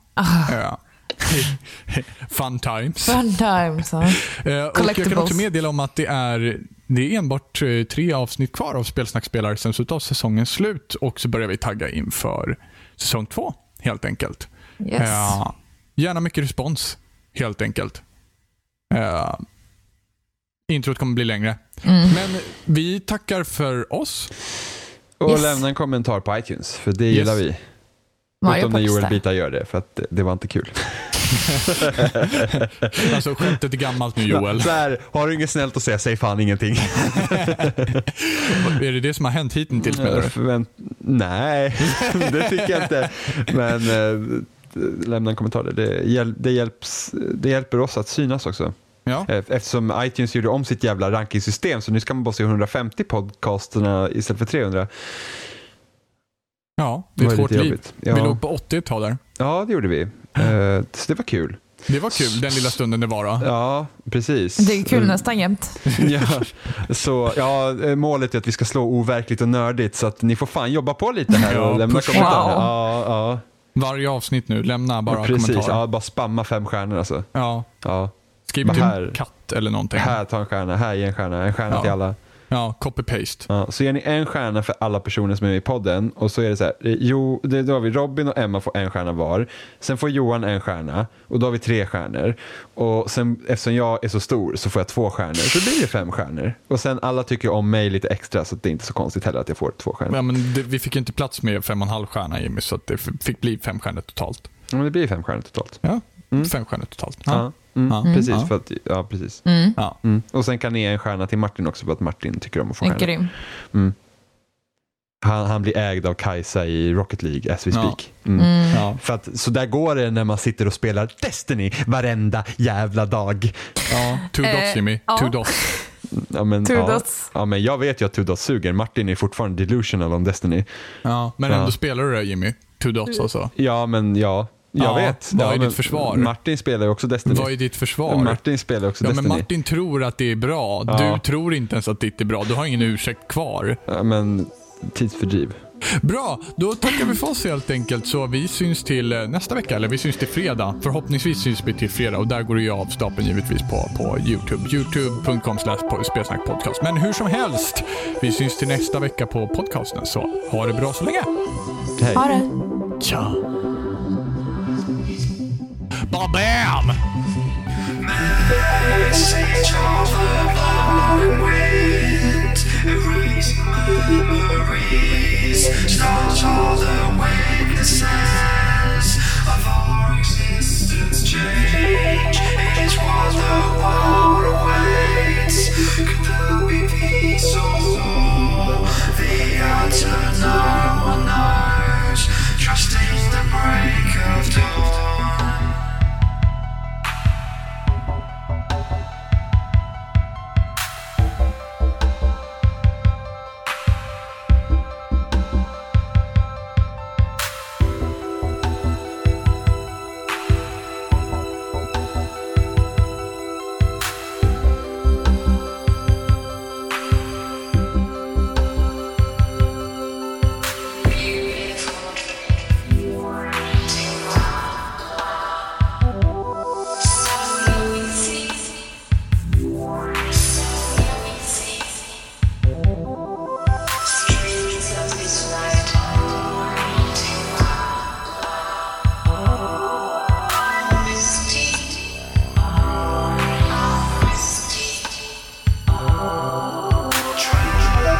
Speaker 2: Ja. Fun times.
Speaker 3: Fun times. ja.
Speaker 2: Eh, och jag kan
Speaker 3: Collectibles.
Speaker 2: också meddela om att det är, det är enbart eh, tre avsnitt kvar av Spelsnackspelare sen så tar säsongen slut och så börjar vi tagga inför säsong två helt enkelt.
Speaker 3: Yes.
Speaker 2: Eh, gärna mycket respons helt enkelt. Eh, introt kommer bli längre.
Speaker 3: Mm.
Speaker 2: Men vi tackar för oss.
Speaker 1: Och
Speaker 3: Yes.
Speaker 1: lämna en kommentar på iTunes, för det gillar vi.
Speaker 3: Mario
Speaker 1: Utom när Joel
Speaker 3: Popstar.
Speaker 1: Bita gör det, för att det var inte kul.
Speaker 2: Alltså skämtet är gammalt nu Joel.
Speaker 1: Där, har du inget snällt att säga, säg fan ingenting.
Speaker 2: är det det som har hänt hittills menar du?
Speaker 1: Förvänt- Eh, nej, det tycker jag inte. Men eh, lämna en kommentar där. Det, hjäl- det, hjälps, det hjälper oss att synas också.
Speaker 2: Ja.
Speaker 1: Eh, Eftersom iTunes gjorde om sitt jävla rankingsystem så nu ska man bara se 150 podcasterna istället för 300.
Speaker 2: ja, det är
Speaker 1: var
Speaker 2: ett hårt
Speaker 1: lite
Speaker 2: liv.
Speaker 1: jobbigt. Ja.
Speaker 2: Vi låg på 80 ett tag där.
Speaker 1: Ja, det gjorde vi. Eh, Så det var kul.
Speaker 2: Det var kul den lilla stunden det var då.
Speaker 1: Ja, precis.
Speaker 3: Det är kul
Speaker 1: Mm.
Speaker 3: nästan jämt.
Speaker 1: ja, så, ja, eh, målet är att vi ska slå overkligt och nördigt så att ni får fan jobba på lite här och
Speaker 2: Ja,
Speaker 1: lämna
Speaker 2: pusha.
Speaker 1: kommentarer.
Speaker 3: Wow.
Speaker 1: Ja, ja.
Speaker 2: Varje avsnitt nu, lämna bara
Speaker 1: precis.
Speaker 2: kommentarer.
Speaker 1: Ja, bara spamma fem stjärnor alltså.
Speaker 2: Ja.
Speaker 1: Ja.
Speaker 2: Skriv
Speaker 1: Vad
Speaker 2: typ
Speaker 1: här?
Speaker 2: katt eller någonting.
Speaker 1: Här, ta en stjärna. Här, ge en stjärna. En stjärna
Speaker 2: Ja.
Speaker 1: till alla.
Speaker 2: Ja, copy-paste.
Speaker 1: Ja, så ger ni en stjärna för alla personer som är med i podden och så är det så här, eh, jo, det, då har vi Robin och Emma får en stjärna var, sen får Johan en stjärna och då har vi tre stjärnor och sen eftersom jag är så stor så får jag två stjärnor så blir det fem stjärnor och sen alla tycker om mig lite extra så att det är inte så konstigt heller att jag får två stjärnor.
Speaker 2: Ja, men det, vi fick ju inte plats med fem och en halv stjärna Jimmy, så att det f- fick bli fem stjärnor totalt.
Speaker 1: Men det blir fem stjärnor totalt.
Speaker 2: Ja, fem stjärnor totalt.
Speaker 1: Mm. Ja.
Speaker 2: Ja.
Speaker 1: Mm,
Speaker 2: Ja.
Speaker 1: Precis,
Speaker 2: Ja.
Speaker 1: för att, ja precis.
Speaker 2: Ja.
Speaker 1: Mm. Och sen kan ni ge en stjärna till Martin också för att Martin tycker om att få
Speaker 3: En
Speaker 1: stjärnor.
Speaker 3: grym.
Speaker 1: Han, han blir ägd av Kajsa i Rocket League as we
Speaker 2: Ja.
Speaker 1: speak. Mm.
Speaker 2: Ja.
Speaker 1: För att, så där går det när man sitter och spelar Destiny varenda jävla dag.
Speaker 2: ja, two dots
Speaker 3: Eh,
Speaker 2: Jimmy.
Speaker 3: ja.
Speaker 2: Two dots.
Speaker 1: Ja, men,
Speaker 3: Two
Speaker 1: ja,
Speaker 3: dots.
Speaker 1: ja, men jag vet ju att Two Dots suger. Martin är fortfarande delusional om Destiny.
Speaker 2: Ja, men
Speaker 1: Ja.
Speaker 2: ändå spelar du det Jimmy. Two dots alltså.
Speaker 1: Ja, men ja. Jag
Speaker 2: Ja,
Speaker 1: vet.
Speaker 2: vad
Speaker 1: ja,
Speaker 2: är ditt
Speaker 1: men
Speaker 2: försvar?
Speaker 1: Martin spelar ju också Destiny.
Speaker 2: Vad är ditt försvar?
Speaker 1: Mm. Martin spelar ju också
Speaker 2: ja, men
Speaker 1: Destiny.
Speaker 2: Martin tror att det är bra. Du
Speaker 1: Ja.
Speaker 2: tror inte ens att ditt är bra. Du har ingen ursäkt kvar.
Speaker 1: Ja, men tidsfördriv.
Speaker 2: Bra, då tackar vi för oss helt enkelt. Så vi syns till eh, nästa vecka, eller vi syns till fredag. Förhoppningsvis syns vi till fredag och där går det ju av stapeln givetvis på, på Youtube. Youtube.com slash spelsnackpodcast. Men hur som helst, vi syns till nästa vecka på podcasten. Så ha det bra så länge.
Speaker 1: Hej.
Speaker 3: Ha det.
Speaker 2: Tja! Ba-bam!
Speaker 4: Message of the blowing winds, erasing memories, stars are the witnesses of our existence change. Age was the world awaits. Could there be peace or war? The answer no one knows. Trusting the break of dawn.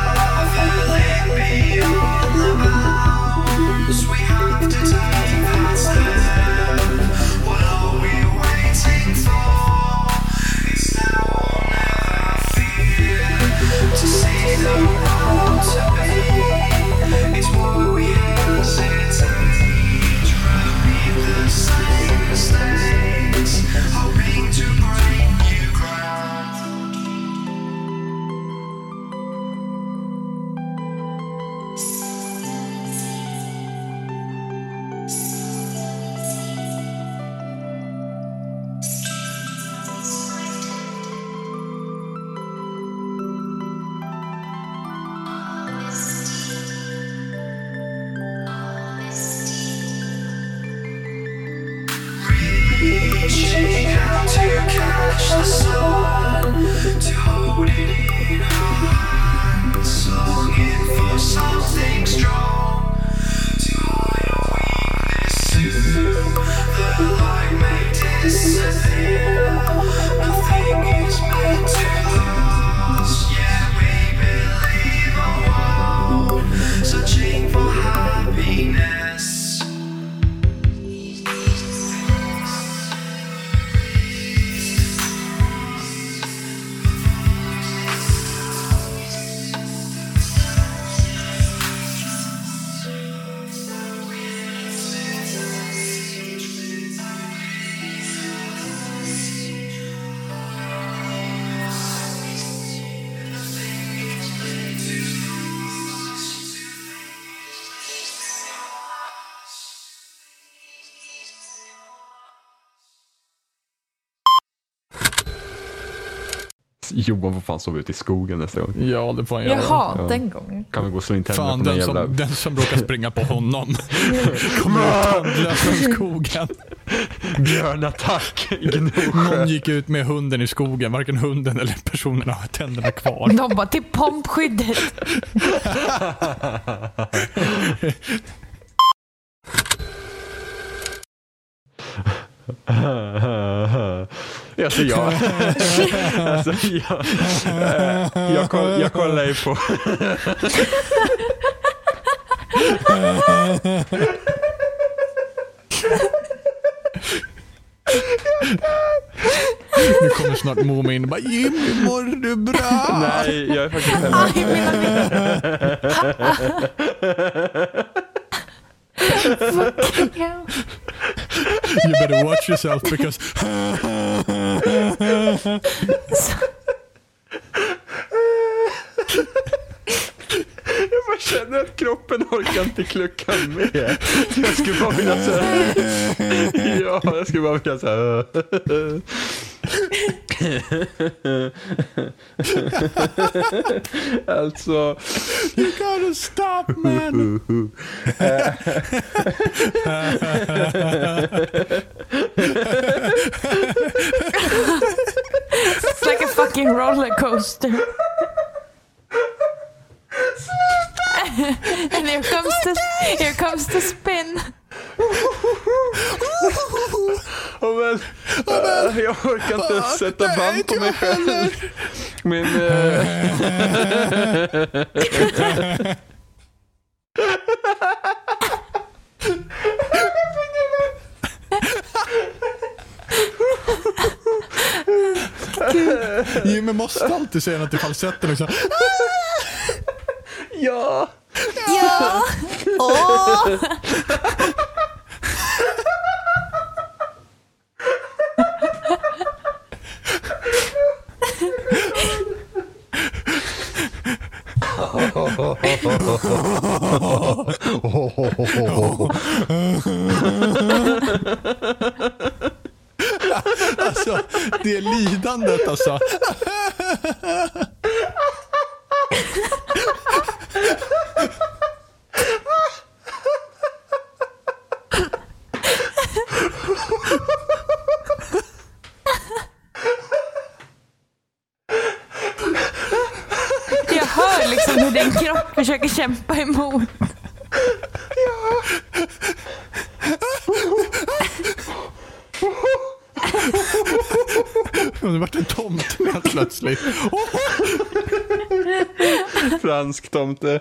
Speaker 4: Traveling beyond the bounds, we have to take that step. What are we waiting for? It's now or never. Fear to reaching out to catch the sun, to hold it in our hands, longing for something strong, to hide our weakness soon. The light may disappear, nothing is meant to last. Yet we believe our world, searching for happiness.
Speaker 1: Johan får fan sova ute i skogen nästa gång.
Speaker 2: Ja, det får han göra.
Speaker 3: Jaha,
Speaker 1: Ja.
Speaker 3: den gången.
Speaker 1: Kan vi gå och slå in tänderna
Speaker 2: Fan,
Speaker 1: på den
Speaker 2: den
Speaker 1: jävla...
Speaker 2: som, den som råkar springa på honom kommer ut tandlös från skogen.
Speaker 1: Björnattack i Gnosjö.
Speaker 2: Någon gick ut med hunden i skogen. Varken hunden eller personen har tänderna kvar.
Speaker 3: De bara, till pompskyddet.
Speaker 1: alltså jag... alltså jag... eh, Jag, koll, jag kollar ju på...
Speaker 2: Nu kommer snart Momo in och bara “Jimmy, mår du bra?”
Speaker 1: Nej, jag är faktiskt
Speaker 3: Aj, mina ben. Fucking hell.
Speaker 2: “You better watch yourself because...”
Speaker 1: Jag bara känner att kroppen orkar inte klucka med. Så jag skulle bara vilja såhär... Ja, jag skulle bara vilja såhär... Alltså...
Speaker 2: “You gotta stop man!”
Speaker 3: It's like a fucking rollercoaster. And here comes the, here comes the spin.
Speaker 1: Oh, men, eh, jag orkar inte sätta band på mig själv. Min... eh,
Speaker 2: Jimmy måste alltid säga något i falsetten liksom. också.
Speaker 1: ja!
Speaker 3: Ja! Åh!
Speaker 2: Alltså, det lidandet alltså.
Speaker 3: Jag hör liksom hur din kropp försöker kämpa emot.
Speaker 2: Det vart en tomte helt plötsligt.
Speaker 1: Fransk tomte.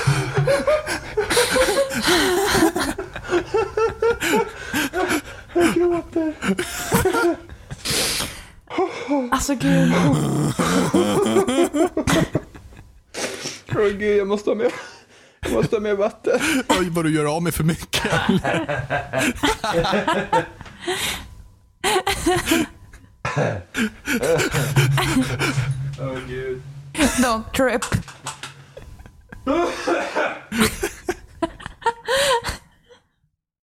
Speaker 3: Alltså gud.
Speaker 1: Åh, Åh gud, jag måste ha mer, jag måste ha mer vatten.
Speaker 2: Oj, vad du gör av med för mycket.
Speaker 1: Åh gud.
Speaker 3: Don't trip.